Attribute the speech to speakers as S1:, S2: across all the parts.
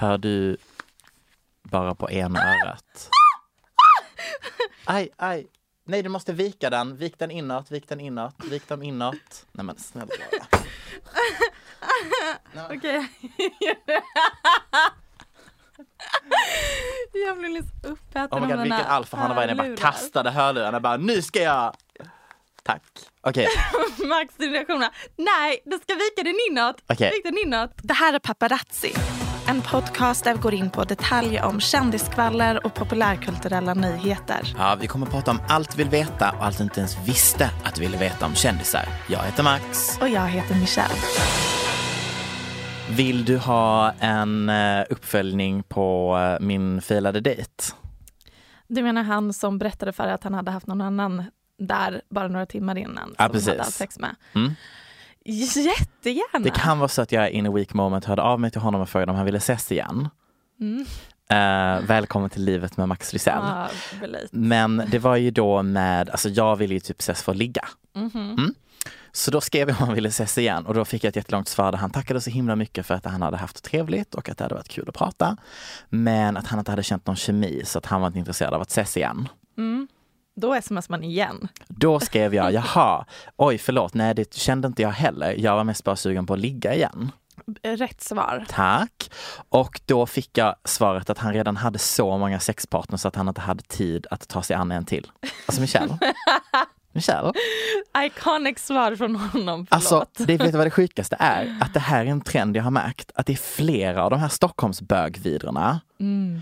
S1: Hör du bara på ena örat? Aj, aj. Nej, du måste vika den. Vik den inåt, vik den inåt, vik dem inåt. Nej men snälla.
S2: Okej. jag blev liksom
S1: Oh
S2: uppäten
S1: my god,
S2: av mina
S1: vilken alfa han var. Jag bara
S2: hörlurar.
S1: kastade hörlurarna bara, nu ska jag. Tack. Okej,
S2: Max reaktionerna. Nej, du ska vika den inåt.
S1: Okej.
S2: Vik den inåt.
S3: Det här är Paparazzi, en podcast där vi går in på detaljer om kändisskvaller och populärkulturella nyheter.
S1: ja, vi kommer att prata om allt du vill veta och allt du inte ens visste att du ville veta om kändisar. Jag heter Max.
S3: Och jag heter Michelle.
S1: Vill du ha en eh, uppföljning på eh, min failade dejt?
S2: Du menar han som berättade för dig att han hade haft någon annan där bara några timmar innan?
S1: Ja,
S2: som
S1: precis.
S2: han hade haft sex med.
S1: Mm.
S2: Jättegärna.
S1: Det kan vara så att jag in a weak moment hörde av mig till honom och frågade om han ville ses igen.
S2: Mm.
S1: Eh, välkommen till livet med Max Rysell.
S2: Ja, relate.
S1: Men det var ju då med, alltså jag ville ju typ ses för att ligga.
S2: Mm-hmm.
S1: Mm. Så då skrev jag om han ville ses igen och då fick jag ett jättelångt svar där han tackade så himla mycket för att han hade haft trevligt och att det hade varit kul att prata. Men att han inte hade känt någon kemi så att han var inte intresserad av att ses igen.
S2: Då sms man igen.
S1: Då skrev jag, jaha, oj förlåt, nej det kände inte jag heller. Jag var mest bara sugen på att ligga igen.
S2: Rätt svar.
S1: Tack. Och då fick jag svaret att han redan hade så många sexpartners att han inte hade tid att ta sig an en till. Alltså Michelle. Michelle.
S2: Iconic svar från honom. Förlåt.
S1: Alltså, det, vet du vad det sjukaste är? Att det här är en trend jag har märkt. Att det är flera av de här Stockholmsbögvidrorna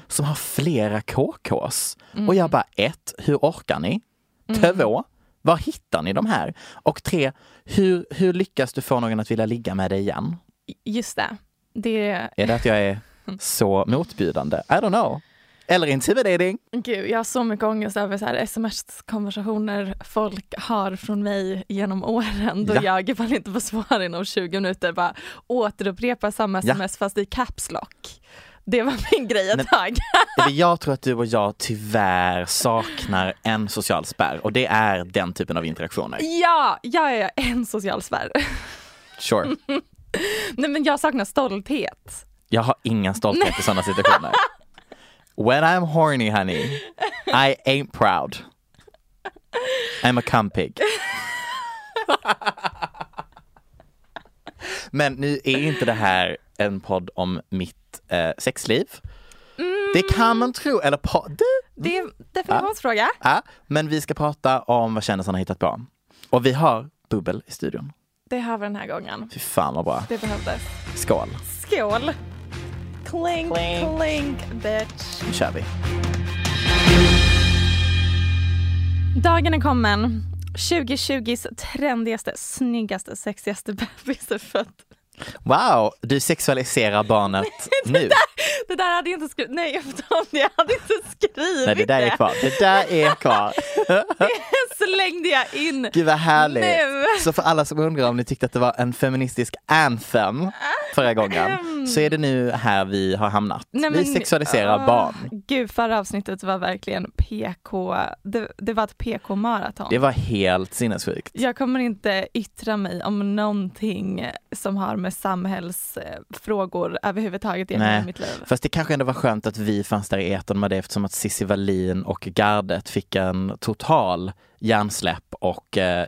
S1: som har flera KKs. Och jag bara, ett, hur orkar ni? Två, var hittar ni de här? Och tre, hur, hur lyckas du få någon att vilja ligga med dig igen?
S2: Just det. det
S1: Är det att jag är så motbjudande? I don't know. Eller intimidating.
S2: gud, jag har så mycket ångest över så här sms-konversationer folk har från mig genom åren då
S1: Ja.
S2: jag ifall jag inte får svar inom 20 minuter bara återupprepar samma
S1: Ja.
S2: sms fast i caps lock. Det var min grej
S1: Nej.
S2: ett tag.
S1: Eller Jag tror att du och jag tyvärr saknar en social spärr och det är den typen av interaktioner.
S2: Ja, jag är en social spärr.
S1: Sure.
S2: Nej men jag saknar stolthet.
S1: Jag har ingen stolthet i sådana situationer. When I'm horny honey, I ain't proud. I'm a cum pig. Men nu är inte det här en podd om mitt eh, sexliv. Det kan man tro, eller podd.
S2: Det är en definitionsfråga.
S1: Mm. Ja, men vi ska prata om vad kändisarna har hittat på. Och vi har bubbel i studion.
S2: Det har vi den här gången.
S1: Fy fan vad bra.
S2: Det behövdes.
S1: Skål,
S2: Skål! Klink,
S1: Klink.
S2: klink, bitch.
S1: nu kör vi.
S2: Dagen är kommen. 2020s trendigaste, snyggaste, sexigaste bebis är född.
S1: Wow, du sexualiserar barnet nu.
S2: Det det där hade jag inte skrivit. Nej, jag får ta om det. Jag hade inte skrivit
S1: Nej, det där är kvar. Det där är kvar.
S2: det. Slängde jag in.
S1: Gud vad härligt.
S2: Nu.
S1: Så för alla som undrar om ni tyckte att det var en feministisk anthem förra gången så är det nu här vi har hamnat.
S2: Nej,
S1: vi
S2: men-
S1: sexualiserar
S2: Ah,
S1: barn.
S2: Gud, förra avsnittet var verkligen PK. Det, det var ett PK-maraton.
S1: Det var helt sinnessjukt.
S2: Jag kommer inte yttra mig om någonting som har med samhällsfrågor överhuvudtaget att göra
S1: Nej.
S2: i mitt liv.
S1: Fast det kanske ändå var skönt att vi fanns där i etern med det eftersom att Cissi Wallin och gardet fick en total hjärnsläpp och eh,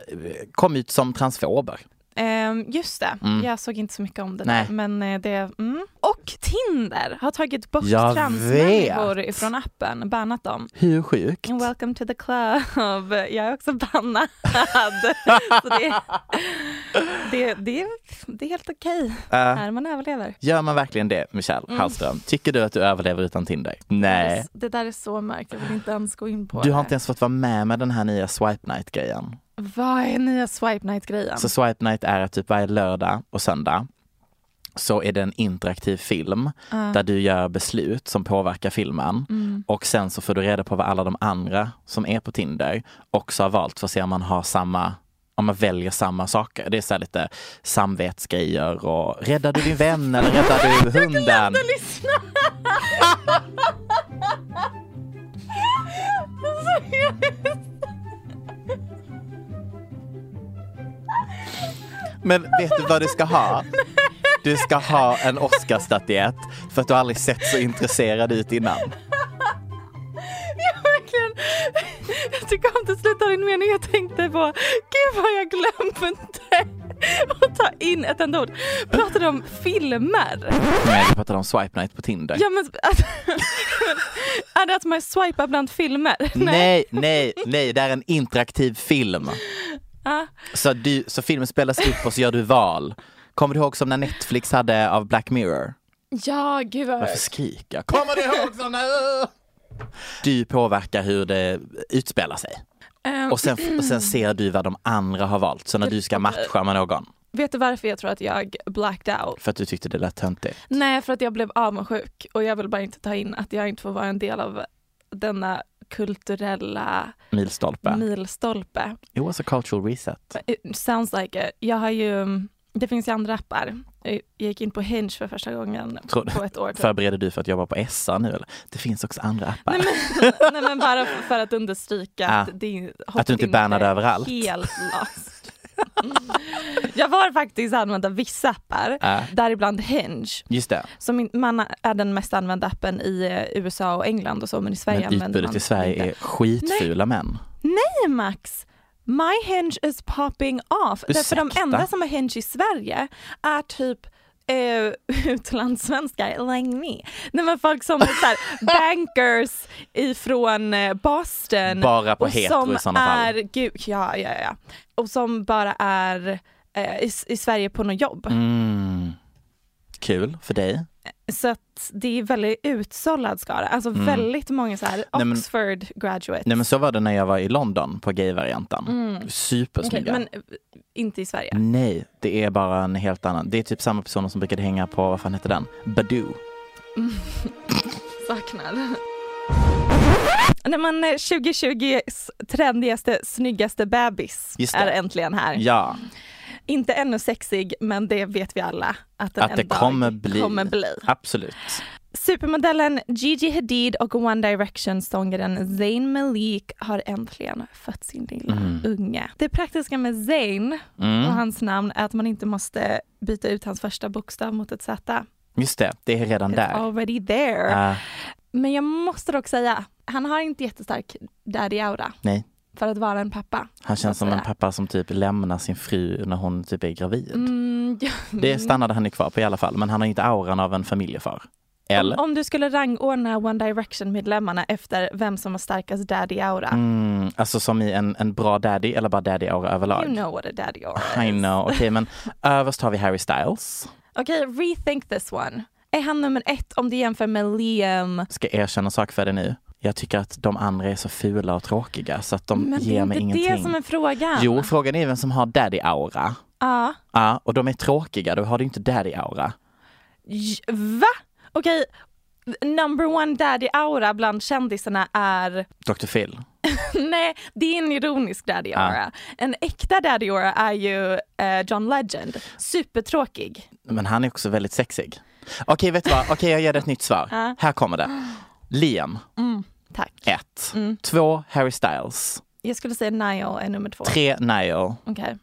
S1: kom ut som transfober.
S2: Ehm, just det,
S1: Mm.
S2: jag såg inte så mycket om det
S1: Nej.
S2: där. Men eh, det, mm. Och Tinder har tagit bort
S1: Jag
S2: transmänniskor
S1: vet.
S2: ifrån appen, bannat dem.
S1: Hur sjukt?
S2: Welcome to the club. Jag är också bannad. Så det, det, det, det är helt okej
S1: Eh,
S2: här man överlever.
S1: gör man verkligen det, Michelle Hallström? Tycker du att du överlever utan Tinder? Nej.
S2: Det där är så mörkt, jag vill inte ens gå in på
S1: Du
S2: det.
S1: har inte ens fått vara med med den här nya Swipe Night-grejen.
S2: Vad är nya Swipe Night-grejen?
S1: Så Swipe Night är att typ varje lördag och söndag så är det en interaktiv film där du gör beslut som påverkar filmen
S2: Mm.
S1: och sen så får du reda på vad alla de andra som är på Tinder också har valt för att se om man har samma om man väljer samma saker. Det är så här lite samvetsgrejer och räddar du din vän eller räddar du hunden?
S2: lyssna! Alltså, jag-
S1: Men vet du vad du ska ha? Du ska ha en Oscarsstatyett för att du aldrig sett så intresserad ut innan.
S2: jag verkligen... Jag tycker om du slutar din mening. Jag tänkte på, gud vad jag glömde att ta in ett enda ord. Pratade om filmer.
S1: Nej, vi pratade om Swipe Night på Tinder.
S2: Ja men... Att, är det att man swipar bland filmer?
S1: Nej, nej, nej, det är en interaktiv film.
S2: Ah.
S1: Så, du, så filmen spelas upp och så gör du val. Kommer du ihåg som när Netflix hade av Black Mirror?
S2: Ja, gud vad...
S1: Varför skriker jag? Kommer du ihåg såna? Du påverkar hur det utspelar sig.
S2: Ehm,
S1: Och sen, och sen ser du vad de andra har valt. Så när du ska matcha med någon,
S2: Vet du varför jag tror att jag blacked out?
S1: för att du tyckte det lät töntigt.
S2: Nej, för att jag blev avundsjuk och jag vill bara inte ta in att jag inte får vara en del av denna kulturella
S1: Milstolpe.
S2: Mm. milstolpe.
S1: It was a cultural reset.
S2: It sounds like it. Jag har ju, det finns ju andra appar. Jag gick in på Hinge för första gången
S1: Tror du-
S2: på ett år. typ.
S1: Förbereder du för att jobba på SA nu eller? Det finns också andra appar.
S2: Nej, Nej men bara för, för att understryka
S1: Ah.
S2: att, det,
S1: Att du inte
S2: hoppade
S1: bannade överallt.
S2: Helt lost. jag var faktiskt använda vissa appar,
S1: Ah.
S2: däribland Hinge.
S1: Just det.
S2: Som in- man är den mest använda appen i eh, USA och England och så men i Sverige
S1: Men
S2: använder
S1: utbudet
S2: man
S1: i Sverige
S2: inte.
S1: är skitfula män.
S2: Nej Max! My hinge is popping off. Därför de
S1: Ursäkta?
S2: enda som har hinge i Sverige är typ eh, utlandssvenskar, like me. Nej men folk som är så här, bankers ifrån eh, Boston.
S1: Bara på
S2: och
S1: hetero
S2: som
S1: i sådana
S2: är,
S1: fall.
S2: Gud, ja, ja, ja. Och som bara är eh, i, i Sverige på något jobb.
S1: Mm. Kul för dig.
S2: Så att det är väldigt utsållad skara. Alltså väldigt många så här
S1: Mm. Nej, men-
S2: Oxford graduates.
S1: Nej men så var det när jag var i London på gayvarianten.
S2: Mm. Okej,
S1: Supersnygga.
S2: men eh, inte i Sverige.
S1: Nej, det är bara en helt annan. Det är typ samma personer som brukade hänga på, vad fan hette den? Badoo.
S2: Saknar. Nej men eh, 2020s trendigaste, snyggaste bebis
S1: Just det.
S2: är äntligen här.
S1: Ja,
S2: Inte ännu sexig men det vet vi alla att den
S1: att
S2: en
S1: det
S2: dag
S1: kommer bli.
S2: kommer bli.
S1: Absolut.
S2: Supermodellen Gigi Hadid och One Direction-sångaren Zayn Malik har äntligen fött sin lilla
S1: Mm.
S2: unge. Det praktiska med Zayn och hans namn är att man inte måste byta ut hans första bokstav mot ett Z.
S1: Just det, det är redan
S2: It's
S1: där.
S2: already there.
S1: Ah,
S2: Men jag måste dock säga, han har inte jättestark daddy-aura
S1: nej,
S2: för att vara en pappa.
S1: han känns som
S2: Alltså,
S1: en pappa som typ lämnar sin fru när hon typ är gravid.
S2: Mm, ja.
S1: Det stannade han ju kvar på i alla fall, men han har inte auran av en familjefar. Eller?
S2: Om du skulle rangordna One Direction-medlemmarna efter vem som har starkast daddy-aura,
S1: Mm, alltså som i en, en bra daddy eller bara daddy-aura överlag.
S2: you know what a daddy-aura is.
S1: I know, okej men överst har vi Harry Styles.
S2: Okej, rethink this one. Är han nummer ett om du jämför med Liam?
S1: Ska erkänna en sak för dig nu. Jag tycker att de andra är så fula och tråkiga så att de
S2: Men det
S1: ger
S2: är
S1: mig
S2: inte
S1: ingenting.
S2: det som är frågan.
S1: Jo, frågan är vem som har daddy-aura.
S2: Ja.
S1: Ja, och de är tråkiga, då har du inte daddy-aura.
S2: J- Va? Okej, number one daddy-aura bland kändisarna är
S1: Dr. Phil.
S2: Nej, det är en ironisk daddy
S1: Ah.
S2: aura. En äkta daddy aura är ju eh, John Legend. Supertråkig.
S1: Men han är också väldigt sexig. Okej, vet du vad? Okej, jag ger dig ett nytt svar. Här kommer det. Liam,
S2: Tack.
S1: 1.
S2: Mm.
S1: 2. Harry Styles.
S2: Jag skulle säga Niall är nummer två.
S1: 3. Niall.
S2: Okej.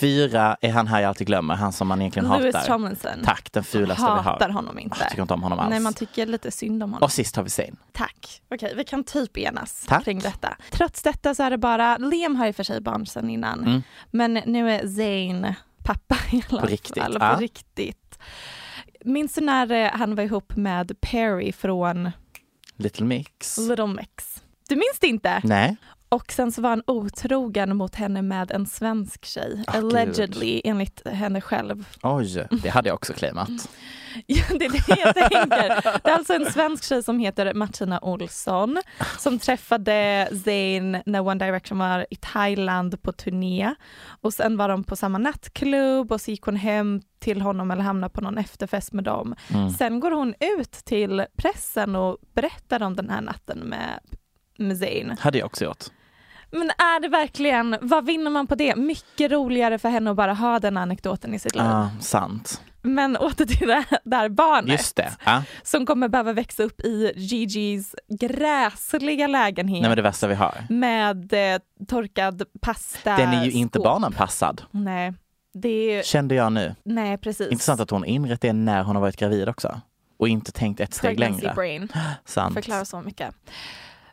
S1: 4. Är han här jag alltid glömmer, han som man egentligen
S2: Lewis
S1: hatar.
S2: Tomlinson.
S1: Tack, den fulaste vi har. Ah,
S2: Hatar honom inte.
S1: Jag tycker inte om honom alls.
S2: Nej, man tycker lite synd om honom.
S1: Och sist har vi Zayn.
S2: Tack. Okej, vi kan typ enas
S1: Tack.
S2: kring detta. Trots detta så är det bara, Liam har ju för sig barn sedan innan, men nu är Zayn pappa i alla
S1: Mm. På riktigt, Ah.
S2: fall.
S1: ja.
S2: På riktigt. Minns du när eh, han var ihop med Perry från
S1: Little Mix.
S2: Little Mix? Du minns det inte?
S1: Nej.
S2: Och sen så var han otrogen mot henne med en svensk tjej,
S1: Ah, gud.
S2: allegedly enligt henne själv.
S1: Oj, det hade jag också claimat.
S2: Mm. Ja, det är det jag tänker. Det är alltså en svensk tjej som heter Martina Olsson som träffade Zayn när One Direction var i Thailand på turné och sen var de på samma nattklubb och så gick hon hem till honom eller hamnade på någon efterfest med dem.
S1: Mm.
S2: Sen går hon ut till pressen och berättar om den här natten med, med Zayn.
S1: Hade jag också gjort.
S2: Men är det verkligen, vad vinner man på det? Mycket roligare för henne att bara ha den anekdoten i sitt liv.
S1: Ah, sant.
S2: Men åter till det där barnet
S1: Just det. Ah.
S2: som kommer behöva växa upp i Gigi's gräsliga lägenhet
S1: Nej men det värsta vi har.
S2: med eh, torkad pasta.
S1: Den är ju inte
S2: skåp.
S1: barnanpassad,
S2: Nej, det är ju,
S1: kände jag nu.
S2: nej Eh, precis.
S1: Intressant att hon inrett det när hon har varit gravid också. Och inte tänkt ett steg
S2: Pregnancy
S1: längre.
S2: brain
S1: Sant.
S2: förklarar så mycket.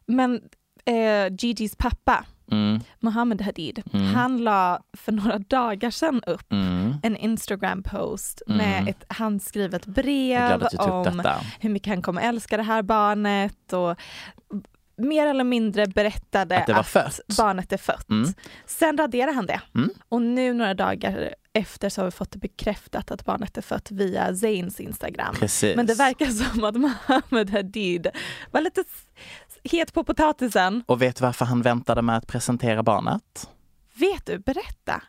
S2: Men eh, Gigi's pappa,
S1: Mm,
S2: Mohammed Hadid, han la för några dagar sedan upp
S1: mm.
S2: en Instagram-post
S1: Mm.
S2: med ett handskrivet
S1: Jag är
S2: brev
S1: glad att du tog upp
S2: om
S1: detta.
S2: hur mycket han kommer älska det här barnet och mer eller mindre berättade
S1: Att det var fött.
S2: barnet är fött.
S1: Mm.
S2: Sen raderade han det
S1: Mm.
S2: och nu några dagar efter så har vi fått det bekräftat att barnet är fött via Zains Instagram.
S1: Precis.
S2: Men det verkar som att Mohammed Hadid var lite s- het på potatisen.
S1: Och vet du varför han väntade med att presentera barnet?
S2: Vet du, berätta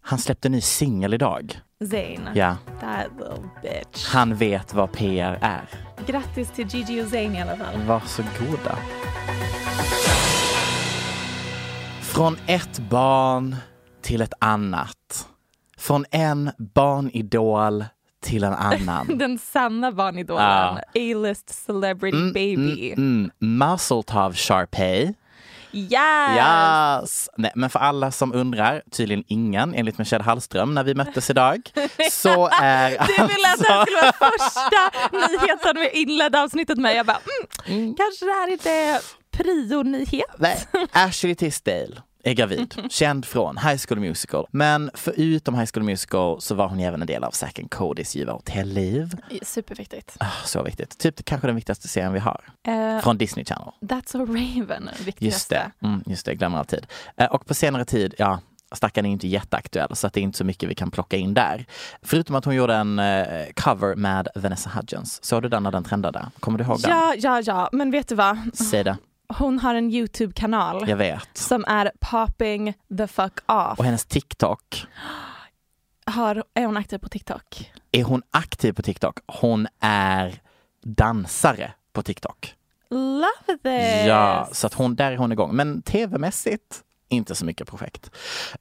S1: Han släppte en ny singel idag.
S2: Zain,
S1: Ja,
S2: that little bitch.
S1: han vet vad PR är.
S2: Grattis till Gigi och Zayn i alla fall.
S1: Varsågoda. Från ett barn till ett annat. Från en barnidol till en annan.
S2: Den sanna barnidolen,
S1: Ja.
S2: A-list celebrity baby.
S1: Mm, Mazeltov Sharpay.
S2: Yes!
S1: Yes! Nej, men för alla som undrar, tydligen ingen enligt Michelle Hallström när vi möttes idag, så är
S2: Du ville att det
S1: Alltså.
S2: här skulle vara första nyheten vi inledde avsnittet med. Jag bara, mm, kanske det här inte är prio-nyhet.
S1: Nej, Ashley Tisdale är gravid, känd från High School Musical. Men förutom High School Musical så var hon ju även en del av Zack and Codys Ljuva hotellliv.
S2: Superviktigt.
S1: Ah, Så viktigt. Typ kanske den viktigaste serien vi har.
S2: Eh,
S1: Från Disney Channel.
S2: That's a Raven, viktigaste.
S1: Just det, mm, just det, jag glömmer alltid. Eh, Och på senare tid, ja, stackaren är ju inte jätteaktuell så att det är inte så mycket vi kan plocka in där. Förutom att hon gjorde en eh, cover med Vanessa Hudgens. Såg du den när den trendade? Kommer du ihåg
S2: Ja, ja, ja, men vet du vad?
S1: den? Säg det,
S2: Hon har en YouTube-kanal
S1: jag vet.
S2: som är popping the fuck off.
S1: Och hennes TikTok,
S2: Har, är hon aktiv på TikTok?
S1: är hon aktiv på TikTok? Hon är dansare på TikTok.
S2: Love this!
S1: Ja, så att hon, där är hon igång. Men tv-mässigt, inte så mycket projekt.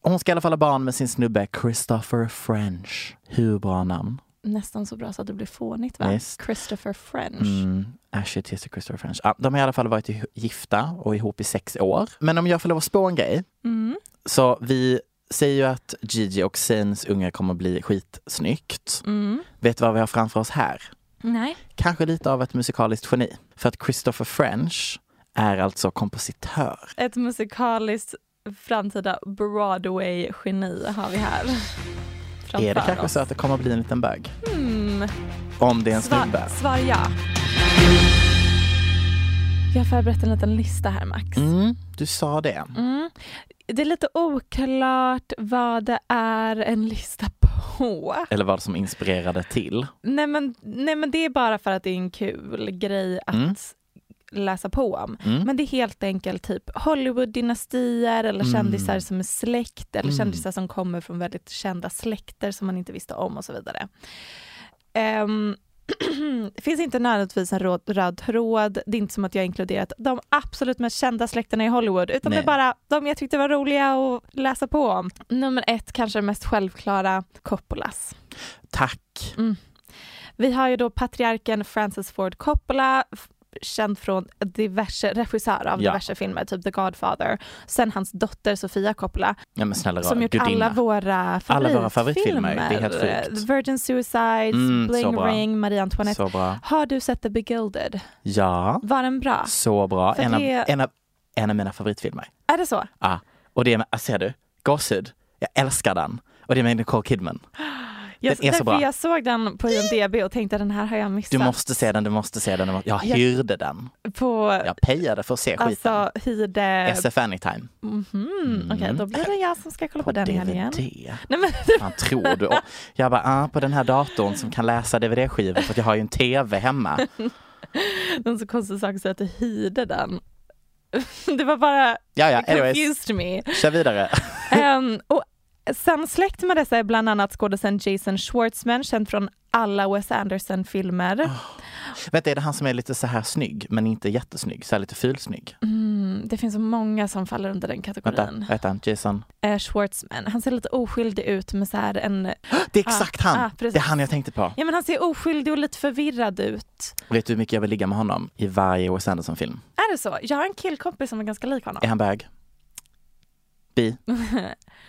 S1: Hon ska i alla fall ha barn med sin snubbe Christopher French. Hur bra namn?
S2: Nästan så bra så att det blir fånigt va?
S1: Visst.
S2: Christopher French.
S1: Mm, Ashley Tisdale och Christopher French. Ja, de har i alla fall varit i- gifta och ihop i sex år. Men om jag får lov att spå en grej.
S2: Mm.
S1: Så vi säger ju att Gigi och Zanes unge kommer bli skitsnyggt.
S2: Mm.
S1: Vet du vad vi har framför oss här?
S2: Nej.
S1: Kanske lite av ett musikaliskt geni. För att Christopher French är alltså kompositör.
S2: Ett musikaliskt framtida Broadway-geni har vi här.
S1: är det
S2: framför
S1: kanske
S2: oss.
S1: så att det kommer att bli en liten bög?
S2: Mm.
S1: Om det är en snubbe.
S2: Svar, svar ja. Jag har förberett en liten lista här Max.
S1: Mm, du sa det.
S2: Mm. Det är lite oklart vad det är en lista på.
S1: Eller vad som inspirerade till.
S2: Nej men, nej men det är bara för att det är en kul grej att
S1: Mm.
S2: läsa på om.
S1: Mm.
S2: Men det är helt enkelt typ Hollywood-dynastier eller
S1: Mm.
S2: kändisar som är släkt eller
S1: Mm.
S2: kändisar som kommer från väldigt kända släkter som man inte visste om och så vidare. Ehm, Det finns inte nödvändigtvis en röd, röd tråd. Det är inte som att jag har inkluderat de absolut mest kända släkterna i Hollywood utan
S1: Nej.
S2: det är bara de jag tyckte var roliga att läsa på om. Nummer ett, kanske det mest självklara, Coppolas.
S1: Tack.
S2: Mm. Vi har ju då patriarken Francis Ford Coppola f- känd från diverse regissör av
S1: Ja.
S2: diverse filmer, typ The Godfather. Sen hans dotter Sofia Coppola
S1: Ja, men snälla
S2: som
S1: rara,
S2: gjort alla våra
S1: Alla
S2: favoritfilmer.
S1: våra favoritfilmer, det är helt sjukt.
S2: Virgin Suicides,
S1: Mm, så
S2: Bling
S1: bra.
S2: Ring, Marie Antoinette.
S1: Så bra.
S2: Har du sett The Begilded?
S1: Ja,
S2: Var den bra?
S1: så bra.
S2: För
S1: En av,
S2: det-
S1: en, av, en av mina favoritfilmer.
S2: Är det så?
S1: Ja. Och det är med, ah, ser du? Gåshud. Jag älskar den. Och det är med Nicole Kidman.
S2: Jag,
S1: Den är så
S2: därför
S1: bra.
S2: jag såg den på IMDB och tänkte den här har jag missat.
S1: Du måste se den, du måste se den. du måste- Jag
S2: Alltså- Jag-
S1: hyrde den.
S2: På
S1: Jag pejade för att se skiten.
S2: alltså, hyrde...
S1: SF Anytime.
S2: Mhm, Okej, då blir det jag som ska kolla på,
S1: mm. På
S2: den den i helgen.
S1: DVD.
S2: Nej, men,
S1: Fan tror du? Och Jag bara, ah, på den här datorn som kan läsa DVD-skivor för att jag har ju en TV hemma.
S2: det är en så konstig sak att säga att du hyrde den. Det var bara
S1: Ja, ja, anyways.
S2: confused me.
S1: Kör vidare.
S2: Ehm, och sen släkt med dessa är bland annat skådisen Jason Schwartzman, känd från alla Wes Anderson-filmer.
S1: Ah. Vet du, är det han som är lite så här snygg, men inte jättesnygg? Så här lite fulsnygg?
S2: Mm, det finns så många som faller under den
S1: Vänta,
S2: kategorin.
S1: vad heter han? Jason?
S2: Eh, Schwartzman, han ser lite oskyldig ut med så här en...
S1: Det är exakt
S2: Ah,
S1: han!
S2: ah, precis.
S1: det är han jag tänkte på.
S2: Ja men han ser oskyldig och lite förvirrad ut.
S1: Vet du hur mycket jag vill ligga med honom i varje Wes Anderson-film?
S2: Är det så? Jag har en killkompis som är ganska lik honom.
S1: Är han bög? Bi?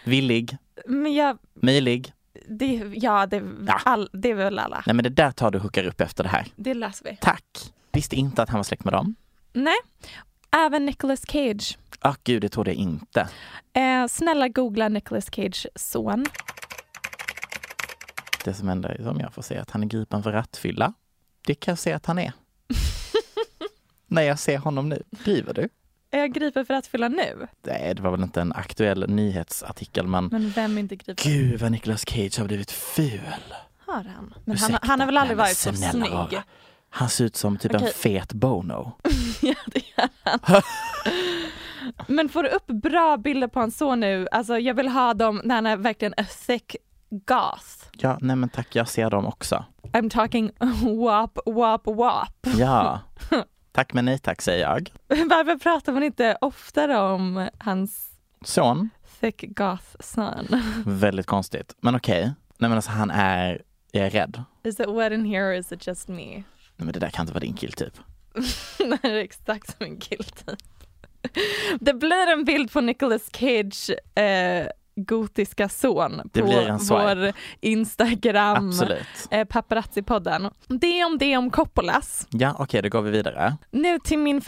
S1: Villig?
S2: Men jag,
S1: Möjlig?
S2: det, ja, det,
S1: Ja.
S2: All, det är väl alla.
S1: Nej men det där tar du och hookar upp efter det här.
S2: Det löser vi.
S1: Tack! Visste inte att han var släkt med dem.
S2: Nej. Även Nicolas Cage.
S1: Ah gud, det trodde jag inte.
S2: Eh, snälla googla Nicolas Cage son.
S1: Det som händer är som jag får se att han är gripen för rattfylla. Det kan jag se att han är. När jag ser honom nu. Driver du?
S2: Är jag gripen för att fylla nu?
S1: Nej, det var väl inte en aktuell nyhetsartikel men
S2: Men vem är inte gripen?
S1: Gud vad Nicolas Cage har blivit ful.
S2: Har han? Men han,
S1: Ursäkta,
S2: han har väl aldrig
S1: men
S2: varit så
S1: snälla
S2: snygg?
S1: rara. Han ser ut som typ en
S2: Okej.
S1: fet Bono.
S2: ja, det gör han. Men får du upp bra bilder på hans son nu? Alltså jag vill ha dem när han är verkligen a thick goth.
S1: Ja, nej men tack, jag ser dem också.
S2: I'm talking wap, wap, wap.
S1: Ja. Tack men nej tack säger jag.
S2: Varför pratar man inte oftare om hans
S1: Son,
S2: thick goth son?
S1: väldigt konstigt. Men okej. Nej men alltså han är, jag är rädd.
S2: Is it wet in here or is it just me?
S1: Nej men det där kan inte vara din typ. killtyp.
S2: Nej, det är exakt som en killtyp. Det blir en bild på Nicolas Cage eh, gotiska son
S1: Det
S2: på
S1: blir en swipe.
S2: vår Instagram
S1: Absolut.
S2: eh, paparazzi-podden. Det om det om Coppolas.
S1: Ja okej, då går vi vidare.
S2: Nu till min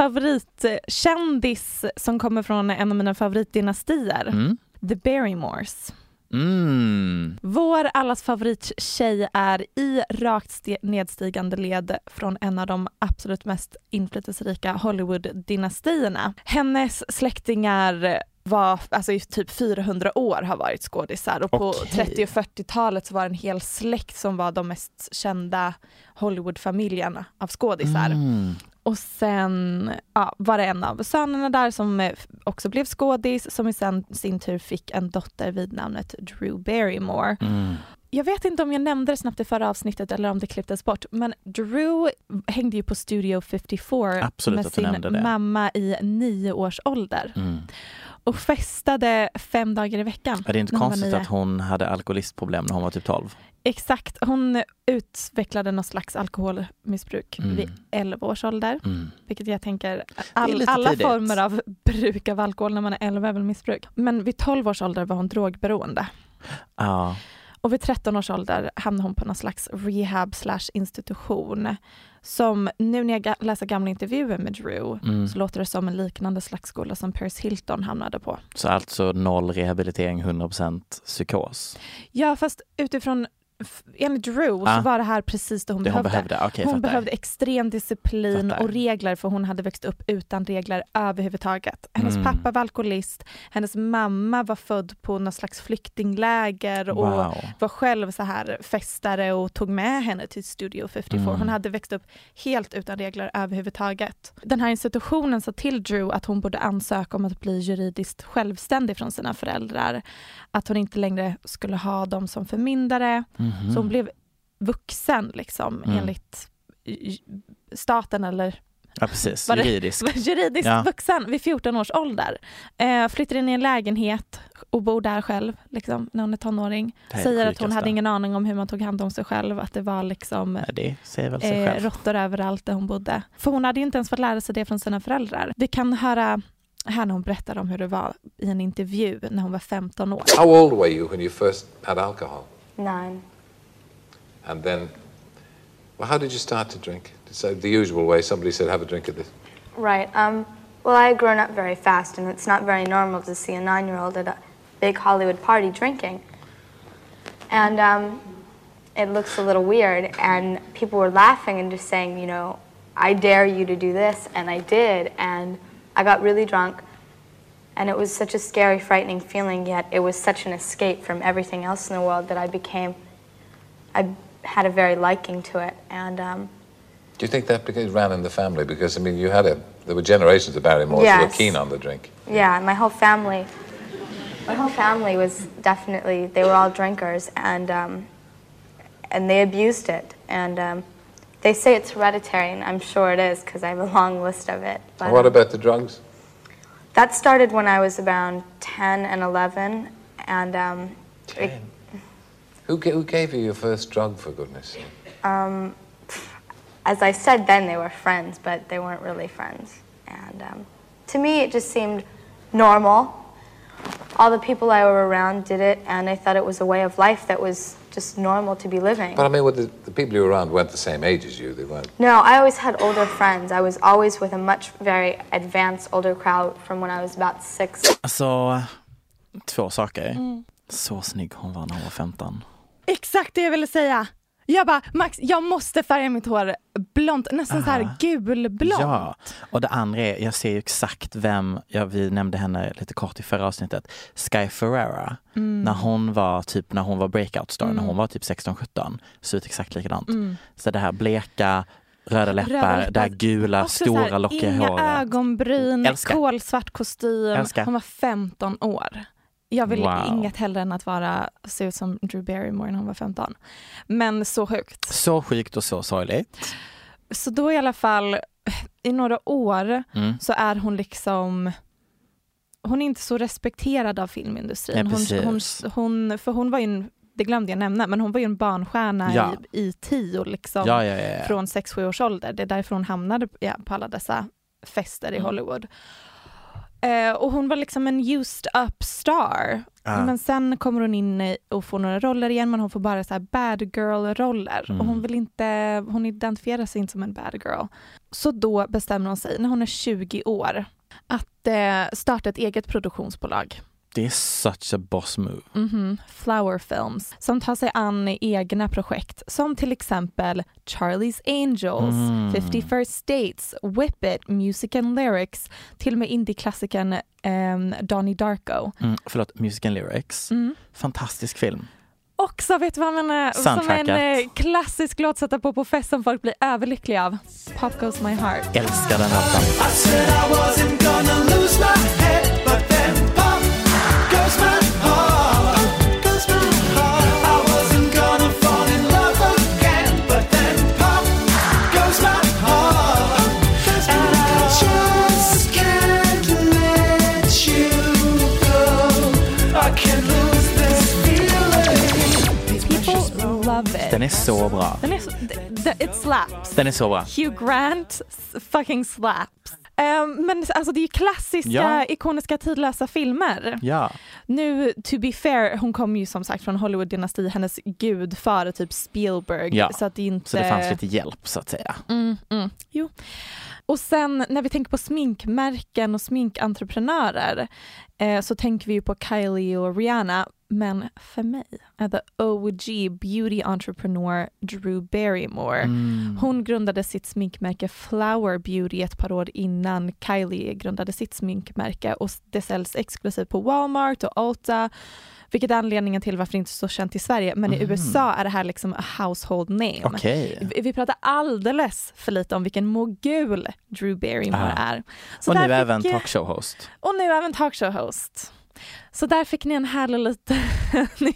S2: favoritkändis som kommer från en av mina favoritdynastier.
S1: Mm.
S2: The Barrymores.
S1: Mm.
S2: Vår allas favorittjej är i rakt ste- nedstigande led från en av de absolut mest inflytelserika Hollywood-dynastierna. Hennes släktingar var alltså i typ 400 år har varit skådisar och på
S1: Okej.
S2: 30 och 40-talet så var det en hel släkt som var de mest kända Hollywoodfamiljerna av skådisar.
S1: Mm.
S2: Och sen ja, var det en av sönerna där som eh, också blev skådis som i sen, sin tur fick en dotter vid namnet Drew Barrymore.
S1: Mm.
S2: Jag vet inte om jag nämnde det snabbt i förra avsnittet eller om det klipptes bort men Drew hängde ju på Studio 54
S1: Absolut
S2: med
S1: att du nämnde
S2: sin
S1: det.
S2: mamma i nio års ålder
S1: Mm.
S2: och festade fem dagar i veckan.
S1: Ja, Det är inte
S2: när hon var
S1: konstigt
S2: nio.
S1: att hon hade alkoholistproblem när hon var typ 12.
S2: Exakt, hon utvecklade någon slags alkoholmissbruk
S1: Mm.
S2: vid 11 års ålder.
S1: Mm.
S2: Vilket jag tänker,
S1: Det är
S2: all,
S1: lite
S2: alla
S1: tidigt.
S2: former av bruk av alkohol när man är 11 är väl missbruk. Men vid 12 års ålder var hon drogberoende.
S1: Ja.
S2: Och vid 13 års ålder hamnade hon på någon slags rehab slash institution. Som nu när jag ga- läser gamla intervjuer med Drew
S1: Mm.
S2: så låter det som en liknande slags skola som Paris Hilton hamnade på.
S1: Så alltså noll rehabilitering, 100% psykos.
S2: Ja fast utifrån, f- enligt Drew
S1: Ah.
S2: så var det här precis det hon
S1: Det hon
S2: behövde.
S1: behövde? Okej,
S2: hon
S1: fattar.
S2: behövde extrem disciplin
S1: Fattar.
S2: och regler för hon hade växt upp utan regler överhuvudtaget. Hennes
S1: Mm.
S2: pappa var alkoholist, hennes mamma var född på någon slags flyktingläger och
S1: Wow.
S2: var själv så här festare och tog med henne till Studio 54.
S1: Mm.
S2: Hon hade växt upp helt utan regler överhuvudtaget. Den här institutionen sa till Drew att hon borde ansöka om att bli juridiskt självständig från sina Mm-hmm. föräldrar. Att hon inte längre skulle ha dem som förmyndare. Så hon blev vuxen liksom
S1: Mm.
S2: enligt j- staten eller
S1: Ja, precis.
S2: Var det-
S1: Juridisk.
S2: juridiskt
S1: Ja.
S2: vuxen vid 14 års ålder. Eh, flyttar in i en lägenhet och bor där själv liksom, när hon är tonåring.
S1: Det här är
S2: Säger
S1: det
S2: att hon
S1: sjukaste.
S2: hade ingen aning om hur man tog hand om sig själv, att det var liksom
S1: Nej, det säger väl sig
S2: eh,
S1: själv.
S2: råttor överallt där hon bodde. För hon hade ju inte ens fått lära sig det från sina föräldrar. Vi kan höra här när hon berättar om hur det var i en intervju när hon var 15 år.
S4: How old were you when you first had alcohol?
S5: Nine.
S4: And then, well, how did you start to drink? So the usual way, somebody said, have a drink of this.
S5: Right. Um, well, I had grown up very fast, and it's not very normal to see a nine year old at a big Hollywood party drinking. And um, it looks a little weird, and people were laughing and just saying, you know, I dare you to do this, and I did, and I got really drunk. And it was such a scary, frightening feeling, yet it was such an escape from everything else in the world that I became, I had a very liking to it. And um,
S4: Do you think that because ran in the family? Because, I mean, you had a, there were generations of Barrymores who were
S5: Yes.
S4: keen on the drink.
S5: Yeah, my whole family. My whole family was definitely. They were all drinkers, and um, and they abused it. And um, they say it's hereditary, and I'm sure it is because I have a long list of it.
S4: And what
S5: um,
S4: about the drugs?
S5: that started when I was around 10 and 11, and um, it-
S4: Who, ga- who gave you your first drug, for goodness sake?
S5: um, as I said then, they were friends, but they weren't really friends. And um, to me, it just seemed normal. All the people I were around did it, and I thought it was a way of life that was just normal to be living.
S4: But um, I mean, were the, the people you were around weren't the same age as you. They weren't.
S5: No, I always had older friends. I was always with a much very advanced older crowd from when I was about six.
S1: Alltså, två saker.
S2: Mm.
S1: Så snygg hon var när hon var 15.
S2: Exakt det jag ville säga. Jag bara, Max, jag måste färga mitt hår blont, nästan så här gulblont.
S1: Ah. Ja, och det andra är, jag ser ju exakt vem, ja, vi nämnde henne lite kort i förra avsnittet, Sky Ferreira.
S2: Mm.
S1: När hon var typ, när hon var breakout star, när hon var typ 16-17, såg ut exakt likadant. Så det här bleka, röda läppar,
S2: Mm. läppar.
S1: det här gula,
S2: Också så
S1: stora
S2: här,
S1: lockiga
S2: inga
S1: håret.
S2: ögonbryn,
S1: Älskar.
S2: kolsvart kostym.
S1: Älskar.
S2: Hon var 15 år. Jag ville
S1: Wow.
S2: inget hellre än att vara, se ut som Drew Barrymore när hon var 15. Men så sjukt.
S1: Så sjukt och så sorgligt.
S2: Så då i alla fall, i några år
S1: Mm.
S2: så är hon liksom hon är inte så respekterad av filmindustrin.
S1: Nej,
S2: hon, hon,
S1: precis.
S2: hon, för hon var ju en, det glömde jag nämna, men hon var ju en barnstjärna
S1: Ja.
S2: i, i tio liksom.
S1: Ja, ja, ja. ja.
S2: från 6-7 års ålder. Det är därför hon hamnade ja, på alla dessa fester i
S1: Mm.
S2: Hollywood. Eh, och hon var liksom en used up star.
S1: Ja.
S2: Men sen kommer hon in i- och får några roller igen men hon får bara så här bad girl-roller. Och
S1: Mm.
S2: hon vill inte, hon identifierar sig inte som en bad girl. Så då bestämmer hon sig, när hon är 20 år, att eh, starta ett eget produktionsbolag.
S1: Det är such a boss move.
S2: Mhm, Flower Films, som tar sig an egna projekt som till exempel Charlie's Angels,
S1: Mm.
S2: 51st Dates, Whip It, Music and Lyrics, till och med indieklassikern um, Donnie Darko.
S1: Mm, förlåt, Music and Lyrics.
S2: Mm.
S1: Fantastisk film.
S2: Också, vet du vad man eh, som en
S1: Soundtracket.
S2: eh, klassisk låt sätta på på fest som folk blir överlyckliga av? Pop Goes My Heart.
S1: Älskar den här filmen.
S2: People love it.
S1: Den är så bra.
S2: Den är så, d- d- it slaps.
S1: Den är så bra.
S2: Hugh Grant s- fucking slaps. Ehm, men alltså det är ju klassiska,
S1: Ja.
S2: ikoniska, tidlösa filmer.
S1: Ja.
S2: Nu, to be fair, hon kom ju som sagt från Hollywood-dynasti, hennes gudfar är typ Spielberg.
S1: Ja,
S2: Så att det inte...
S1: Så det fanns lite hjälp så att säga.
S2: Mm, mm. Jo. Och sen när vi tänker på sminkmärken och sminkentreprenörer eh, så tänker vi ju på Kylie och Rihanna. Men för mig är the OG beauty entreprenör Drew Barrymore. Hon grundade sitt sminkmärke Flower Beauty ett par år innan Kylie grundade sitt sminkmärke och det säljs exklusivt på Walmart och Ulta vilket är anledningen till varför det inte är så känt i Sverige men i USA är det här liksom a household name.
S1: Okej.
S2: Vi vi pratar alldeles för lite om vilken mogul Drew Barrymore
S1: Ah.
S2: är. Så
S1: Och nu
S2: där fick-
S1: även talkshow-host.
S2: och nu även talkshow-host. Så där fick ni en härlig liten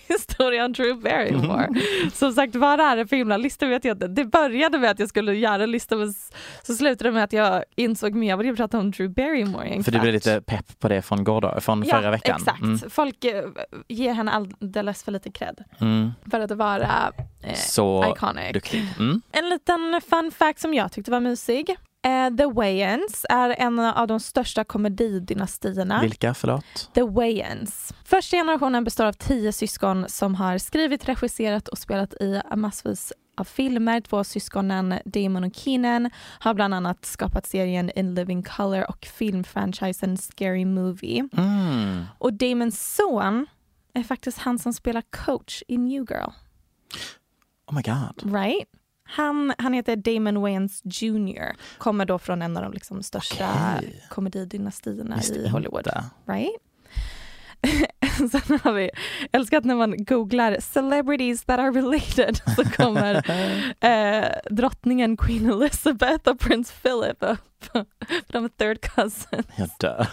S2: historia om Drew Barrymore. Som sagt, vad det här är för himla lista vet jag inte. Det började med att jag skulle göra en lista men s- så slutade det med att jag insåg att jag borde prata om Drew Barrymore i en
S1: För du
S2: kvart.
S1: blev lite pepp på det från, gårdag, från förra veckan.
S2: Exakt,
S1: Mm,
S2: folk eh, ger henne alldeles för lite cred
S1: mm.
S2: för att vara eh,
S1: Så
S2: iconic.
S1: duktig. Mm.
S2: En liten fun fact som jag tyckte var mysig. Eh, The Wayans är en av de största komedidynastierna.
S1: Vilka, förlåt?
S2: The Wayans. Första generationen består av tio syskon som har skrivit, regisserat och spelat i massvis av filmer. Två syskonen Damon och Keenan har bland annat skapat serien In Living Color och filmfranchisen Scary Movie.
S1: Mm.
S2: Och Damons son är faktiskt han som spelar coach i New Girl.
S1: Oh my god.
S2: Right? Han, han heter Damon Wayans Jr. Kommer då från en av de liksom största
S1: Okej.
S2: komedidynastierna
S1: Visste
S2: i Hollywood.
S1: inte.
S2: Right? Sen har vi, jag älskar att när man googlar celebrities that are related så kommer eh, drottningen Queen Elizabeth och prins Philip upp. För de är third cousin.
S1: Jag dör.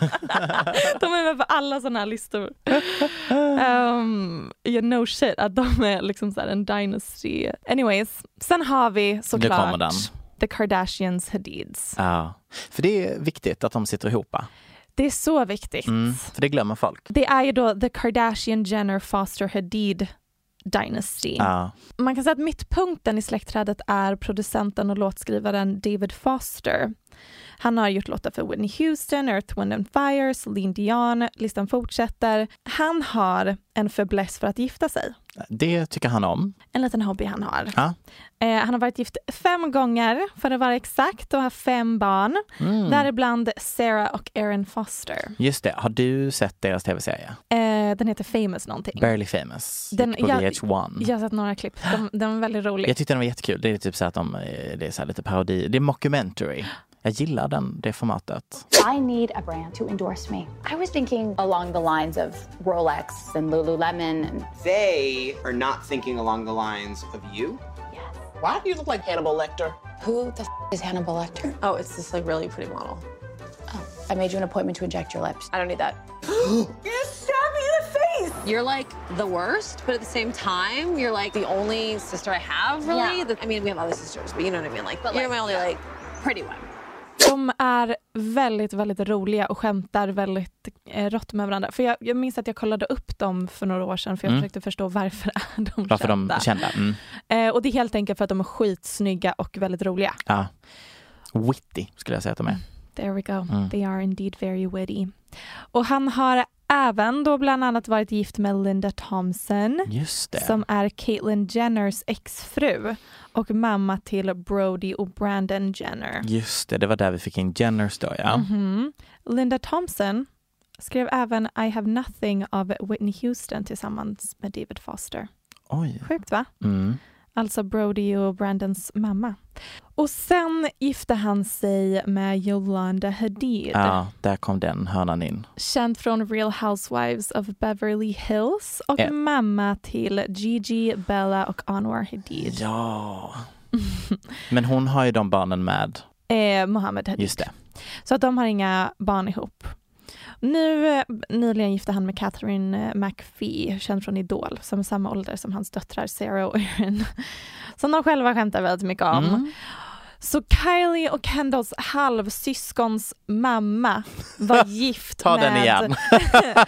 S2: De är med på alla sådana här listor. Um, yeah, no shit, att de är liksom så här en dynasty. Anyways, sen har vi
S1: kommer
S2: såklart
S1: den.
S2: The Kardashians Hadids.
S1: Ja. För det är viktigt att de sitter ihop. va?
S2: Det är så viktigt.
S1: Mm. För det glömmer folk.
S2: Det är ju då The Kardashian Jenner Foster Hadid Dynasty.
S1: Ja.
S2: Man kan säga att mittpunkten i släktträdet är producenten och låtskrivaren David Foster. Han har gjort låtar för Whitney Houston, Earth, Wind and Fire, Celine Dion, listan fortsätter. Han har en fäbless för att gifta sig.
S1: Det tycker han om.
S2: En liten hobby han har.
S1: Ja.
S2: Eh, han har varit gift fem gånger för att vara exakt och har fem barn.
S1: Mm.
S2: Däribland Sarah och Aaron Foster.
S1: Just det, har du sett deras tv-serie?
S2: Eh, den heter Famous någonting.
S1: Barely famous.
S2: Den-
S1: Den, på
S2: jag-
S1: VH1.
S2: Jag har sett några klipp. De, den var väldigt rolig.
S1: Jag tyckte den var jättekul. Det är typ så att de, eh, det är så här lite parodi. Det är mockumentary. Jag gillar den, det formatet.
S6: I need a brand to endorse me. I was thinking along the lines of Rolex and Lululemon. And
S7: They are not thinking along the lines of you.
S8: Why do you look like Hannibal Lecter?
S6: who the f- is Hannibal Lecter?
S8: Oh, it's this like really pretty model.
S6: Oh, I made you an appointment to inject your lips.
S8: I don't need that.
S6: You're like the worst, but at the same time, you're like the only sister I have, really.
S8: I mean, we have other sisters, but you know what I mean. Like,
S6: But,
S8: you're
S6: like,
S8: my only like.
S6: Pretty one.
S2: De är väldigt, väldigt roliga och skämtar väldigt eh, rått med varandra. För jag, jag minns att jag kollade upp dem för några år sedan för jag
S1: Mm.
S2: försökte förstå varför är de
S1: Varför de
S2: kända.
S1: är kända. Mm.
S2: eh, och det är helt enkelt för att de är skitsnygga och väldigt roliga.
S1: Ja. Witty skulle jag säga att de är.
S2: There we go.
S1: Mm.
S2: They are indeed very witty. Och han har även då bland annat varit gift med Linda Thompson
S1: Just det.
S2: som är Caitlyn Jenners exfru och mamma till Brody och Brandon Jenner.
S1: Just det, det var där vi fick in Jenners då ja.
S2: Mhm. Linda Thompson skrev även I have nothing av Whitney Houston tillsammans med David Foster.
S1: Oj.
S2: Sjukt va?
S1: Mm.
S2: Alltså Brody och Brandons mamma. Och sen gifte han sig med Yolanda Hadid.
S1: Ja, där kom den hörnan in.
S2: Känd från Real Housewives of Beverly Hills och
S1: Ja.
S2: mamma till Gigi, Bella och Anwar Hadid.
S1: Ja. Men hon har ju de barnen med.
S2: Eh, Mohammed Hadid.
S1: Just det.
S2: Så att de har inga barn ihop. Nu eh, nyligen gifte han med Catherine eh, McPhee, känd från Idol, som är samma ålder som hans döttrar Sarah och Erin. Som de själva skämtar väldigt mycket om.
S1: Mm.
S2: Så Kylie och Kendalls halvsyskons mamma var gift
S1: Ta
S2: med...
S1: den igen.